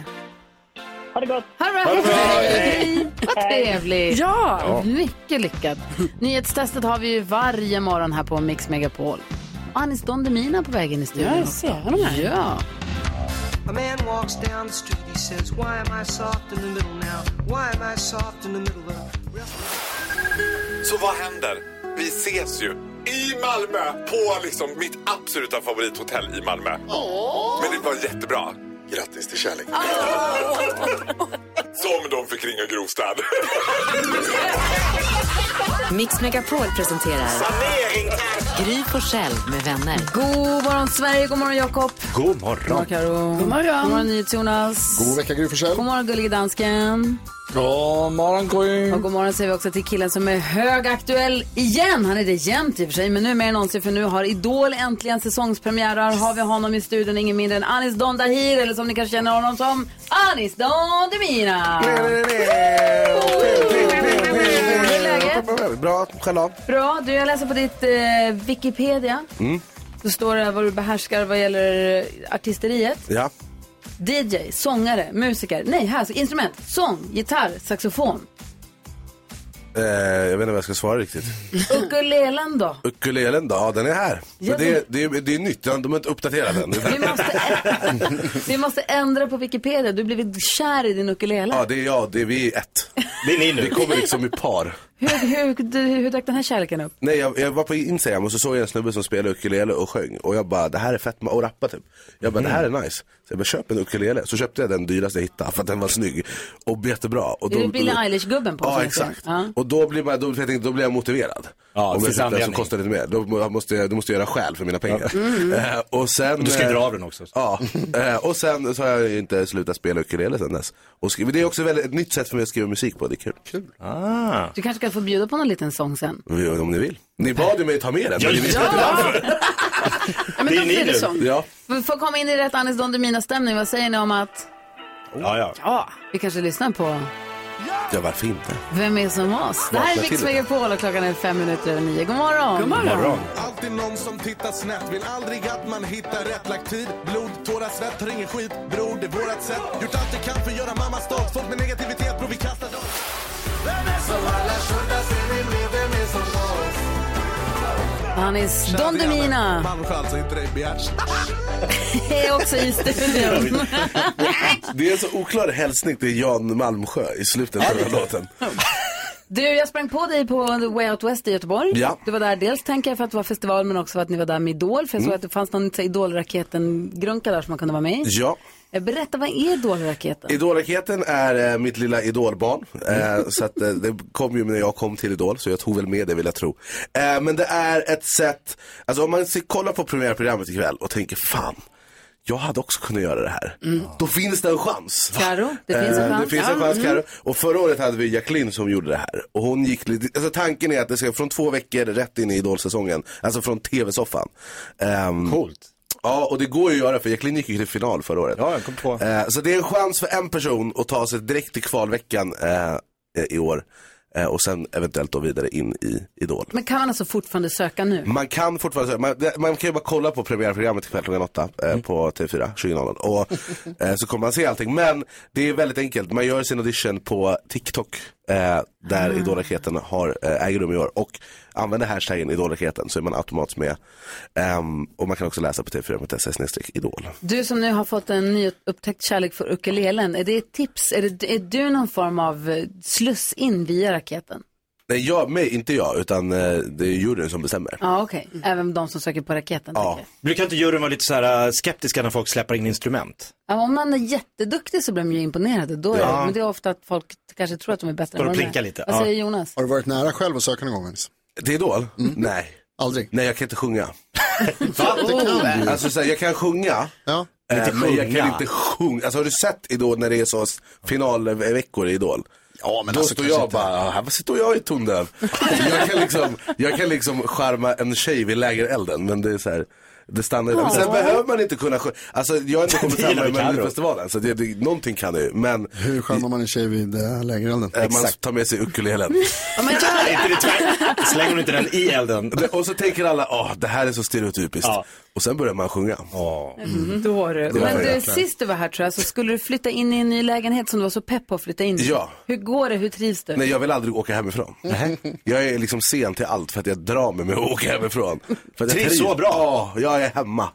Ha det gott.
Ha det bra.
Ha det bra.
Hej. Vad
Hej.
trevligt.
Ja. Ja.
Mycket lyckat. Nyhetstestet har vi ju varje morgon här på Mix Megapol. Och Anis Don Demina på vägen i studion.
Ja, jag
också.
ser honom här.
Ja.
A man walks down the street, he says, Why am I soft in the middle now? Why am I soft in the middle of
Så vad händer? Vi ses ju i Malmö på liksom mitt absoluta favorithotell i Malmö. Men det var jättebra. Grattis till kärleken.
Ah.
Som de fick ringa Grostad.
Mix Megapol presenterar Gry Forssell med vänner.
God morgon Sverige, god morgon Jakob.
God morgon.
Karo. God
morgon.
God morgon NyhetsJonas.
God vecka, Gry Forssell.
God morgon gullige dansken.
God morgon Gry.
Och god morgon säger vi också till killen som är högaktuell igen. Han är det jämt i och för sig, men nu mer än någonsin för nu har Idol äntligen säsongspremiär. Här har vi honom i studion, ingen mindre än Anis Don Dahir, eller som ni kanske känner honom som, Anis Don Demina. Hur är läget?
Bra, själv
Bra, du jag läser på ditt eh, Wikipedia.
mm.
Så står det här vad du behärskar vad gäller eh, artisteriet.
Ja,
DJ, sångare, musiker. Nej, här, så instrument. Sång, gitarr, saxofon.
eh, jag vet inte vad jag ska svara riktigt.
Ukulelen då?
Ukulelen då, ja, den är här.
Ja,
Men det, det, är- det är nytt, de har inte uppdaterat den.
Vi måste ändra på Wikipedia. Du har blivit kär i din ukulele.
Ja, det är jag, det är vi är ett.
Det är ni nu.
Vi kommer liksom i par.
Hur, hur, du, hur dök den här kärleken upp?
Nej, jag, jag var på Instagram och så såg jag en snubbe som spelade ukulele och sjöng. Och jag bara, det här är fett, och rappa typ. Jag bara, det här
Mm.
är nice. Så jag bara, köp en ukulele. Så köpte jag den dyraste jag hittade för att den var snygg. Och jättebra. Och
är du Billie Eilish-gubben på?
Ja,
som jag ser?
exakt.
Ja.
Och då blir, man, då, jag tänkte, då blir jag motiverad.
det
Om
finns
jag köper den som
anledning.
kostar lite mer. Då må- måste jag, då måste jag göra skäl för mina pengar.
Ja. Mm.
Eh, och sen,
Och du skriver
eh,
av den också.
Ja, eh, och sen så har jag ju inte slutat spela ukulele sen dess. Och skri- det är också väldigt, ett nytt sätt för mig att skriva musik på, det är kul. kul. Ah.
Du kanske kan få bjuda på någon liten sång sen.
Om ni vill. Ni bad ju mig ta med den.
Ja,
men ni visste inte varför.
men Det är då ni blir det nu. sång.
Ja.
Vi får komma in i rätt Anis Don Demina-stämning. Vad säger ni om att
Ja, ja.
ja, vi kanske lyssnar på
ja, varför inte?
Vem är som oss? Det här är
Vakna
Mix
till det.
Megapol och klockan är fem minuter över nio. God morgon!
Alltid någon som tittar snett, vill aldrig att man hittar rätt. Lagt tid, blod, tårar, svett, tar ingen skit. Bror, det är vårat sätt. Gjort allt jag kan för att göra mamma stolt. Folk med negativitet, bror, vi kastar dem. Vem är som alla, skjuta sig vi blir, vem är som oss?
Anis Don Demina
Malmsjö alltså, inte dig, Bjärs.
är också i studion.
Det är en så oklar hälsning till Jan Malmsjö i slutet av den här låten.
Du, jag sprang på dig på Way Out West i Göteborg.
Ja.
Du var där dels tänker jag för att det var festival men också för att ni var där med Idol. För jag såg
Mm.
att det fanns någon så här Idol-raketen-grunka där som man kunde vara med i.
Ja.
Eh, Berätta, vad är Idol-raketen?
Idolraketen är eh, mitt lilla idolbarn. Eh, så att, eh, det kom ju när jag kom till Idol, så jag tog väl med det vill jag tro. Eh, men det är ett sätt, alltså om man ser- kollar på premiärprogrammet ikväll och tänker fan, jag hade också kunnat göra det här. Mm, Då finns det en chans.
Karo, det finns en
Eh,
chans.
Det finns en
Ja,
chans,
mm.
Karo. Och förra året hade vi Jacqueline som gjorde det här. Och hon gick lite, alltså tanken är att det ska från två veckor rätt in i idolsäsongen. Alltså från tv-soffan. Um, Coolt. Ja, och det går ju att göra för Jacqueline gick ju till final förra året. Ja, jag kom på. så det är en chans för en person att ta sig direkt till kvalveckan eh, i år. Eh, och sen eventuellt då vidare in i Idol.
Men kan man alltså fortfarande söka nu?
Man kan fortfarande man, det- man kan ju bara kolla på premiärprogrammet ikväll klockan åtta eh, på TV4 20.00 och eh, så kommer man se allting. Men det är väldigt enkelt, man gör sin audition på TikTok eh, där Idolraketen har, eh, äger rum i år och använder hashtaggen Idolraketen så är man automatiskt med. Ehm, och man kan också läsa på TV4.se idol.
Du som nu har fått en nyupptäckt kärlek för ukulelen, är det ett tips? Är, det, är du någon form av eh, sluss in via raketen?
Nej, jag, mig, inte jag, utan eh, det är juryn som bestämmer.
Ja, okej. Även de som söker på raketen.
Ja. Brukar inte juryn vara lite så här äh, skeptiska när folk släpper in instrument?
Ja, om man är jätteduktig så blir de ju imponerade. Då är
Ja.
det, men det är ofta att folk kanske tror att de är bättre
Står och
än vad de
plinkar
är.
lite,
Vad
ja.
säger Jonas?
Har du varit nära själv att söka någon gång ens?
Till Idol? Nej.
Aldrig?
Nej, jag kan inte sjunga.
Oh.
Det kan du.
Alltså så här, jag kan sjunga.
Ja.
eh,
Inte
men jag
sjunga.
kan inte sjunga. Alltså har du sett Idol när det är så s- finalveckor i Idol? Ja,
men
Då
alltså,
står
kanske
jag
inte.
bara, "Ah, här står jag i tondöv. jag kan liksom, jag kan liksom charma en tjej vid lägerelden, men det är så här. Det stannar ju där. Men Sen Ja. behöver man inte kunna sjunga. Alltså jag har inte kommit Det gillar fram med vi Karo. Melodifestivalen, så det, det, någonting kan jag ju. Men
Hur charmar man en tjej vid äh, lägerelden?
eh, man tar med sig ukulelen. Slänger hon inte den i elden? Och så tänker alla, åh, det här är så stereotypiskt. Och sen börjar man sjunga.
Mm. Då du.
Det var
Men du,
jäklar.
sist du var här tror jag, så skulle du flytta in i en ny lägenhet som du var så pepp på att flytta in i.
Ja.
Hur går det? Hur trivs du?
Nej, jag vill aldrig åka hemifrån. Jag är liksom sen till allt för att jag drar mig med att åka hemifrån. För att jag
Trivs så bra?
Ja, jag är hemma.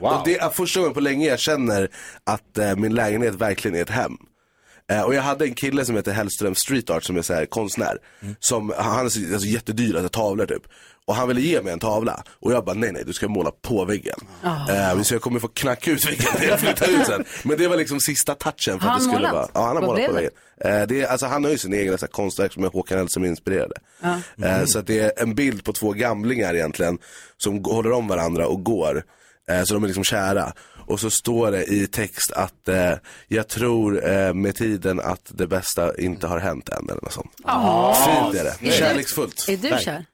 Och det är första gången på länge jag känner att eh, min lägenhet verkligen är ett hem. Eh, och jag hade en kille som heter Hellström Street Art som är så här konstnär.
Mm.
Som, han är så, alltså, jättedyr, alltså, tavlor typ. Och han ville ge mig en tavla. Och jag bara, nej nej du ska måla på väggen.
Ah.
Eh, så jag kommer få knacka ut väggen när jag flyttar ut sen. Men det var liksom sista touchen för
Har
att det
han
skulle
målat?
vara. Ja, han har
Vad
målat på
blev det?
väggen. Eh, det är, alltså, han har ju sina egna så här, konstverk som är Håkan Hellström inspirerade.
Ja.
Eh, Så att det är en bild på två gamlingar egentligen som g- håller om varandra och går. Eh, Så de är liksom kära. Och så står det i text att eh, jag tror eh, med tiden att det bästa inte har hänt än eller något sånt.
Ja.
Fint är
Är du-
det. Kärleksfullt.
Är du
Nej.
kär?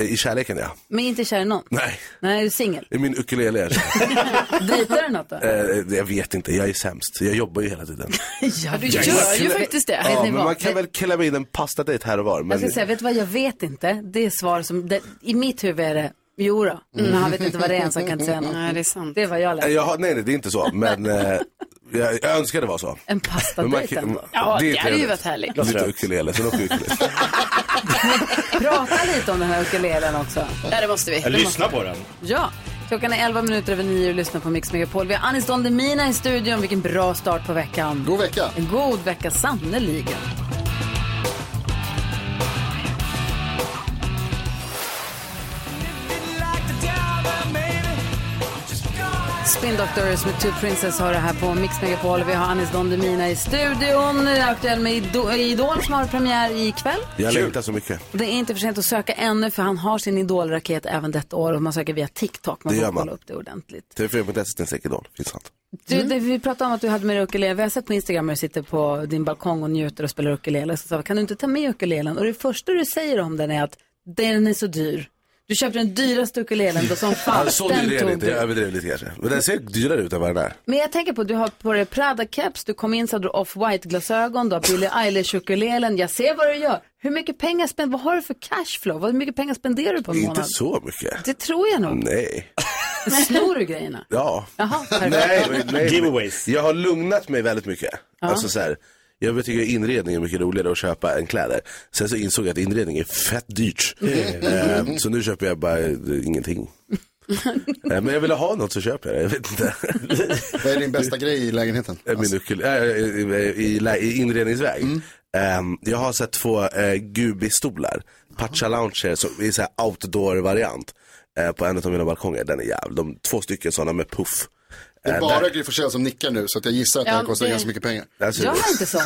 Eh, I kärleken ja.
Men inte kär i någon?
Nej,
Nej, är du singel?
i min ukulele är jag kär.
Dejtar du något då?
Eh, Jag vet inte, jag är sämst. Jag jobbar ju hela tiden.
Ja, du
Jag
gör ju
klämmer-
faktiskt det. Vet
Ja,
ni
men
vad?
man kan väl klämma in en pastadejt här och var.
Jag
Men...
ska säga, vet du vad jag vet inte? Det är svar som, det, i mitt huvud är det, jo
Mm.
då. men han vet inte vad det är än så han kan inte säga något. Nej,
det är sant.
Det är vad jag
Eh,
läser.
Jag har, nej, nej, det är inte så. Men eh, jag, jag önskar det var så.
En pastadejt
Men man
ändå.
kan- Ja, det är det hade ju trevligt. varit
härligt.
Lite ukulele, sen åker vi ukulele.
Prata lite om den här ukulelen också.
Ja, det måste vi. Det måste vi.
på den.
Ja, klockan är 11 minuter över 9 och lyssnar på Mix Megapol. Vi har Anis Don Demina i studion. Vilken bra start på veckan.
God vecka.
En god vecka, sannerligen. Spin Doctors med Two Princess har det här på Mix Megapol. Vi har Anis Don Demina i studion. Aktuell med Ido- Idol som har premiär ikväll.
Jag längtar så mycket.
Och Det är inte för sent att söka ännu för han har sin idolraket även detta år och man söker via TikTok. Man
Det
får
gör man.
kolla upp det ordentligt.
TV4.se till Idol, finns allt.
Du, det, vi pratade om att du hade med dig ukulele. Vi har sett på Instagram när du sitter på din balkong och njuter och spelar ukulele. Så sa vi, kan du inte ta med ukulelen? Och det första du säger om den är att den är så dyr. Du köpte den dyraste ukulelen då som fan.
så
den
dyr är det
tog
inte,
du.
jag överdrev lite kanske. Men den ser dyrare ut än vad den är.
Men jag tänker på, du har på dig Prada-keps, du kom in så hade du off-white-glasögon, du har Billie Eilish-ukulelen. Jag ser vad du gör. Hur mycket pengar spenderar, vad har du för cashflow? Hur mycket pengar spenderar du på en månad?
Inte så mycket.
Det tror jag nog.
Nej.
Snor du grejerna?
Ja.
Jaha,
nej,
perfekt.
men- nej. Giveaways. Jag har lugnat mig väldigt mycket.
Ja.
Alltså så här, jag tycker inredning är mycket roligare att köpa än kläder. Sen så insåg jag att inredning är fett dyrt.
Mm.
Eh, så nu köper jag bara eh, ingenting. Eh, Men jag ville ha något så köper jag det. jag vet inte.
Vad är din bästa grej i lägenheten? Alltså.
Eh, Min ukul- eh, eh, eh, i, lä- i inredningsväg.
Mm.
Ehm, jag har sett två eh, gubistolar, Pacha Lounger, som är så här outdoor-variant eh, på en av mina balkonger. Den är jävla, de, två stycken sådana med puff.
Det är
Eh,
bara
där-
Gry Forssell som nickar nu så att jag gissar att det här
Ja,
kostar
det-
ganska mycket pengar.
Alltså- Jag är
inte sån.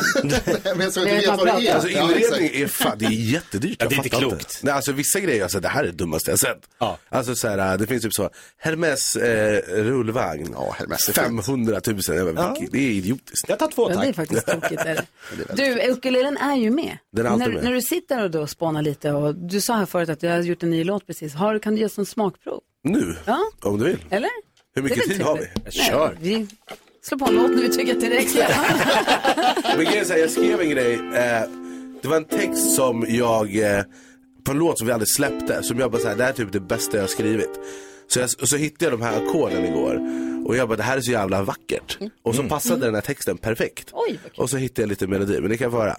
men så att
Det
du
är
vet vad det är.
Alltså inredning
exakt.
är, fan, det är jättedyrt.
Ja, det är
Jag
inte
fattar
klokt.
Nej, alltså vissa grejer, alltså, det här är det dummaste jag sett. Alltså så här, det finns typ så, Hermes eh, rullvagn, 500 000. Jag bara, vilket- Det är idiotiskt.
Jag tar två
Ja, det är tack. faktiskt tokigt, är det?
är väldigt-
Du, ukulelen är ju med.
Den är alltid
när,
med.
när du sitter och då spånar lite och du sa här förut att jag har gjort en ny låt precis. Har, kan du ge oss en smakprov?
Nu,
Ja,
om du vill.
eller?
Hur mycket
Det är väl
tid har vi?
trevligt. Nej, vi slår på en låt när vi tycker att det räcker.
Men grejen är så här, jag skrev en grej. Eh, det var en text som jag, eh, på en låt som vi aldrig släppte, som jag bara såhär, det här är typ det bästa jag har skrivit. Så, jag, och så hittade jag de här ackorden igår och jag bara, det här är så jävla vackert. Och
Mm.
så passade den här texten perfekt. och så hittade jag lite melodi, men det kan vara.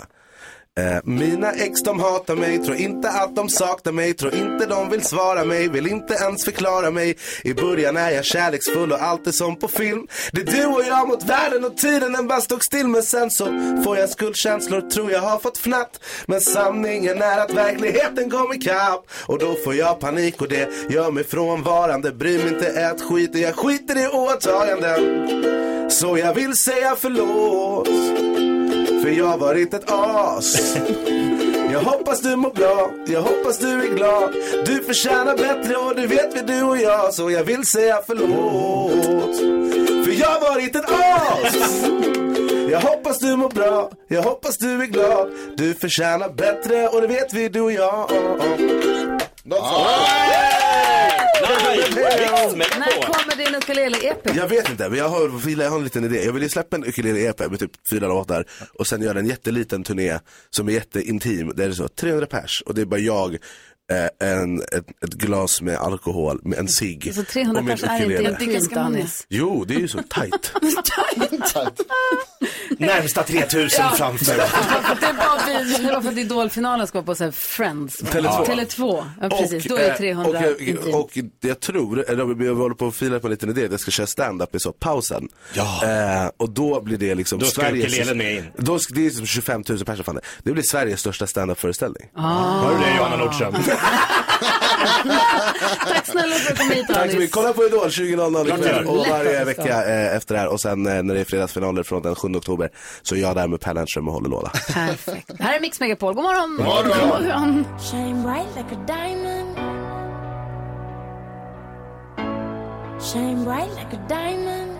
Eh, mina ex de hatar mig, tror inte att de saknar mig, tror inte de vill svara mig, vill inte ens förklara mig. I början är jag kärleksfull och allt är som på film. Det är du och jag mot världen och tiden den bara stod still. Men sen så får jag skuldkänslor, tror jag har fått fnatt. Men sanningen är att verkligheten kom ikapp. Och då får jag panik och det gör mig frånvarande. Bryr mig inte ett skit och jag skiter i åtaganden. Så jag vill säga förlåt. För jag har varit ett as Jag hoppas du mår bra, jag hoppas du är glad Du förtjänar bättre och du vet vi du och jag Så jag vill säga förlåt För jag har varit ett as Jag hoppas du mår bra, jag hoppas du är glad Du förtjänar bättre och det vet vi du och jag
När kommer din ukulele-EP?
Jag vet inte, men jag har, jag har en liten idé. Jag vill ju släppa en ukulele-EP med typ fyra låtar och sen göra en jätteliten turné som är jätteintim. Där det är så 300 pers och det är bara jag, eh, en, ett, ett glas med alkohol, med en cigg
Alltså 300
och min
pers är inte
ukulele.
intimt, Anis.
Jo, det är ju så tajt.
Närmsta 3000
Ja.
framför.
Det är bara vi. Det var för att idolfinalen ska vara på så här Friends.
Tele2.
Tele2. Ja, precis. Då är
eh,
det 300
och,
intimt.
jag- och jag tror, eller vi håller på att fila på en liten idé, att jag ska köra stand-up i så pausen. Ja. Eh, och då blir det liksom
Då ska
Sveriges...
ukulelen med in.
Då ska, det är som 25 000 personer, fan, det blir Sveriges största stand-up-föreställning.
Hör du det Johanna Nordström?
Ah.
Tack snälla för att du kom hit,
Tack så
Anis.
mycket. Kolla på Idol 20.00 ikväll
Grattis.
och varje
Lätt att
vecka eh, efter det här och sen eh, när det är fredagsfinaler från den 7 oktober så är jag där med Per Lernström och håller låda.
Perfekt. Här är Mix Megapol. God morgon.
God morgon.
Shine bright like a diamond. Shine bright like a diamond.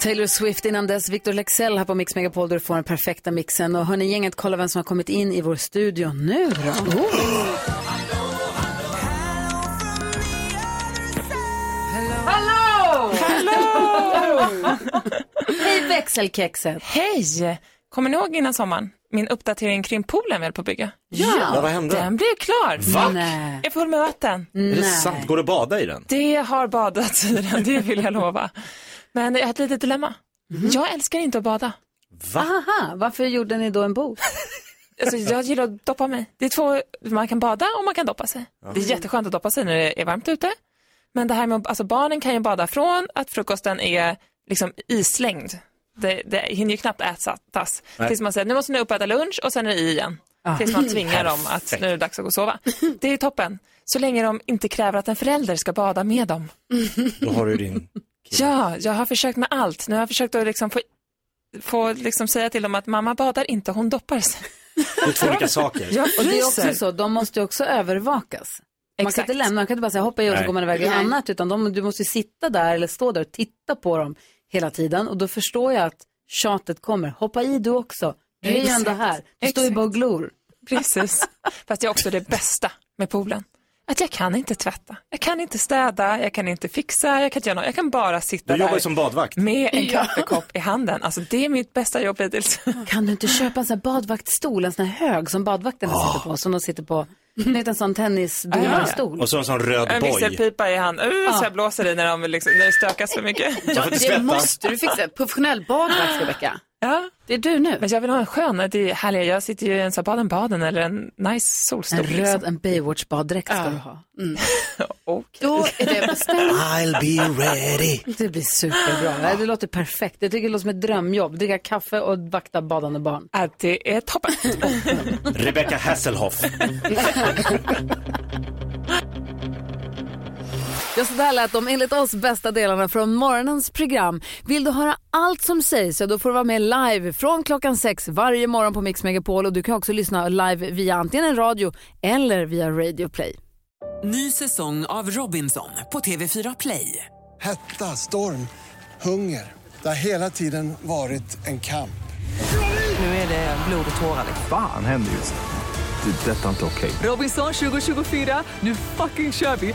Taylor Swift innan dess, Victor Lexell här på Mix Megapol där du får den perfekta mixen. Och hörni gänget, kolla vem som har kommit in i vår studio nu då. Oh. Hallå!
Hallå!
Hej växelkexet!
Hej! Kommer ni ihåg innan sommaren? Min uppdatering kring poolen vi höll på att bygga?
Ja. Ja, vad hände?
Den blev klar!
Va? Nej.
Är full med vatten.
Är det sant? Går det att bada i den?
Det har badats i den, det vill jag lova. Men jag har ett litet dilemma. Jag älskar inte att bada.
Mhm. Va? Aha, varför gjorde ni då en bok?
Alltså, jag gillar att doppa mig. Det är två, man kan bada och man kan doppa sig.
Ja.
Det är jätteskönt att doppa sig när det är varmt ute. Men det här med, alltså barnen kan ju bada från att frukosten är liksom islängd. Det, det hinner ju knappt ätas.
Nej.
Tills man säger, nu måste ni upp och äta lunch och sen är det i igen.
Ah.
Ja.
Tills man tvingar dem att
Perfekt.
nu är det dags att gå och sova. Det är toppen. Så länge de inte kräver att en förälder ska bada med dem.
Då har du din...
Ja, jag har försökt med allt. Nu har jag försökt att liksom få, få liksom säga till dem att mamma badar inte, hon doppar sig.
Det är två olika saker.
Jag
Och det är
fryser.
också så, de måste ju också övervakas. Man kan
Exakt.
inte lämna, man kan inte bara säga hoppa i och så
Nej.
går man iväg och gör
Nej.
annat, utan de, du måste ju sitta där eller stå där och titta på dem hela tiden. Och då förstår jag att tjatet kommer, hoppa i du också, du är ju ändå
Exakt.
här, du står ju
Exakt.
bara och glor.
Precis. Fast det är också det bästa med poolen. Att jag kan inte tvätta, jag kan inte städa, jag kan inte fixa, jag kan inte göra något. Jag kan bara sitta
Du jobbar
där
ju som badvakt.
med en
Ja.
kaffekopp i handen. Alltså det är mitt bästa jobb hittills.
Kan du inte köpa en sån här badvaktstol, en sån här hög som badvakterna sitter på, som de sitter på, du vet en sån tennisdomarstol.
Och så en sån röd
En
boj.
visselpipa i hand, uh, så jag blåser i när, de liksom, när det stökas för mycket.
Jag får inte svettas.
du fixa, professionell badvakt Rebecka. Ja. Det är du nu. Men jag vill ha en skön, det är härliga, jag sitter ju i en sån här Baden-Baden eller en nice solstol. liksom.
En röd, en Baywatch-baddräkt ska du ha.
Då
är det bestämt.
I'll be ready.
Det blir superbra. Nej, Det låter perfekt. Jag tycker det låter som ett drömjobb. Dricka kaffe och vakta badande barn.
Att det är toppen.
Rebecca Hasselhoff.
Ja, så där lät de enligt oss bästa delarna från morgonens program. Vill du höra allt som sägs, ja, då får du vara med live från klockan sex varje morgon på Mix Megapol. Och du kan också lyssna live via antingen en radio eller via Radio Play.
Ny säsong av Robinson på TV4 Play.
Hetta, storm, hunger. Det har hela tiden varit en kamp.
Nu är det blod och tårar.
Fan händer just nu. Det. är Detta är inte okej.
Robinson 2024, nu fucking kör vi!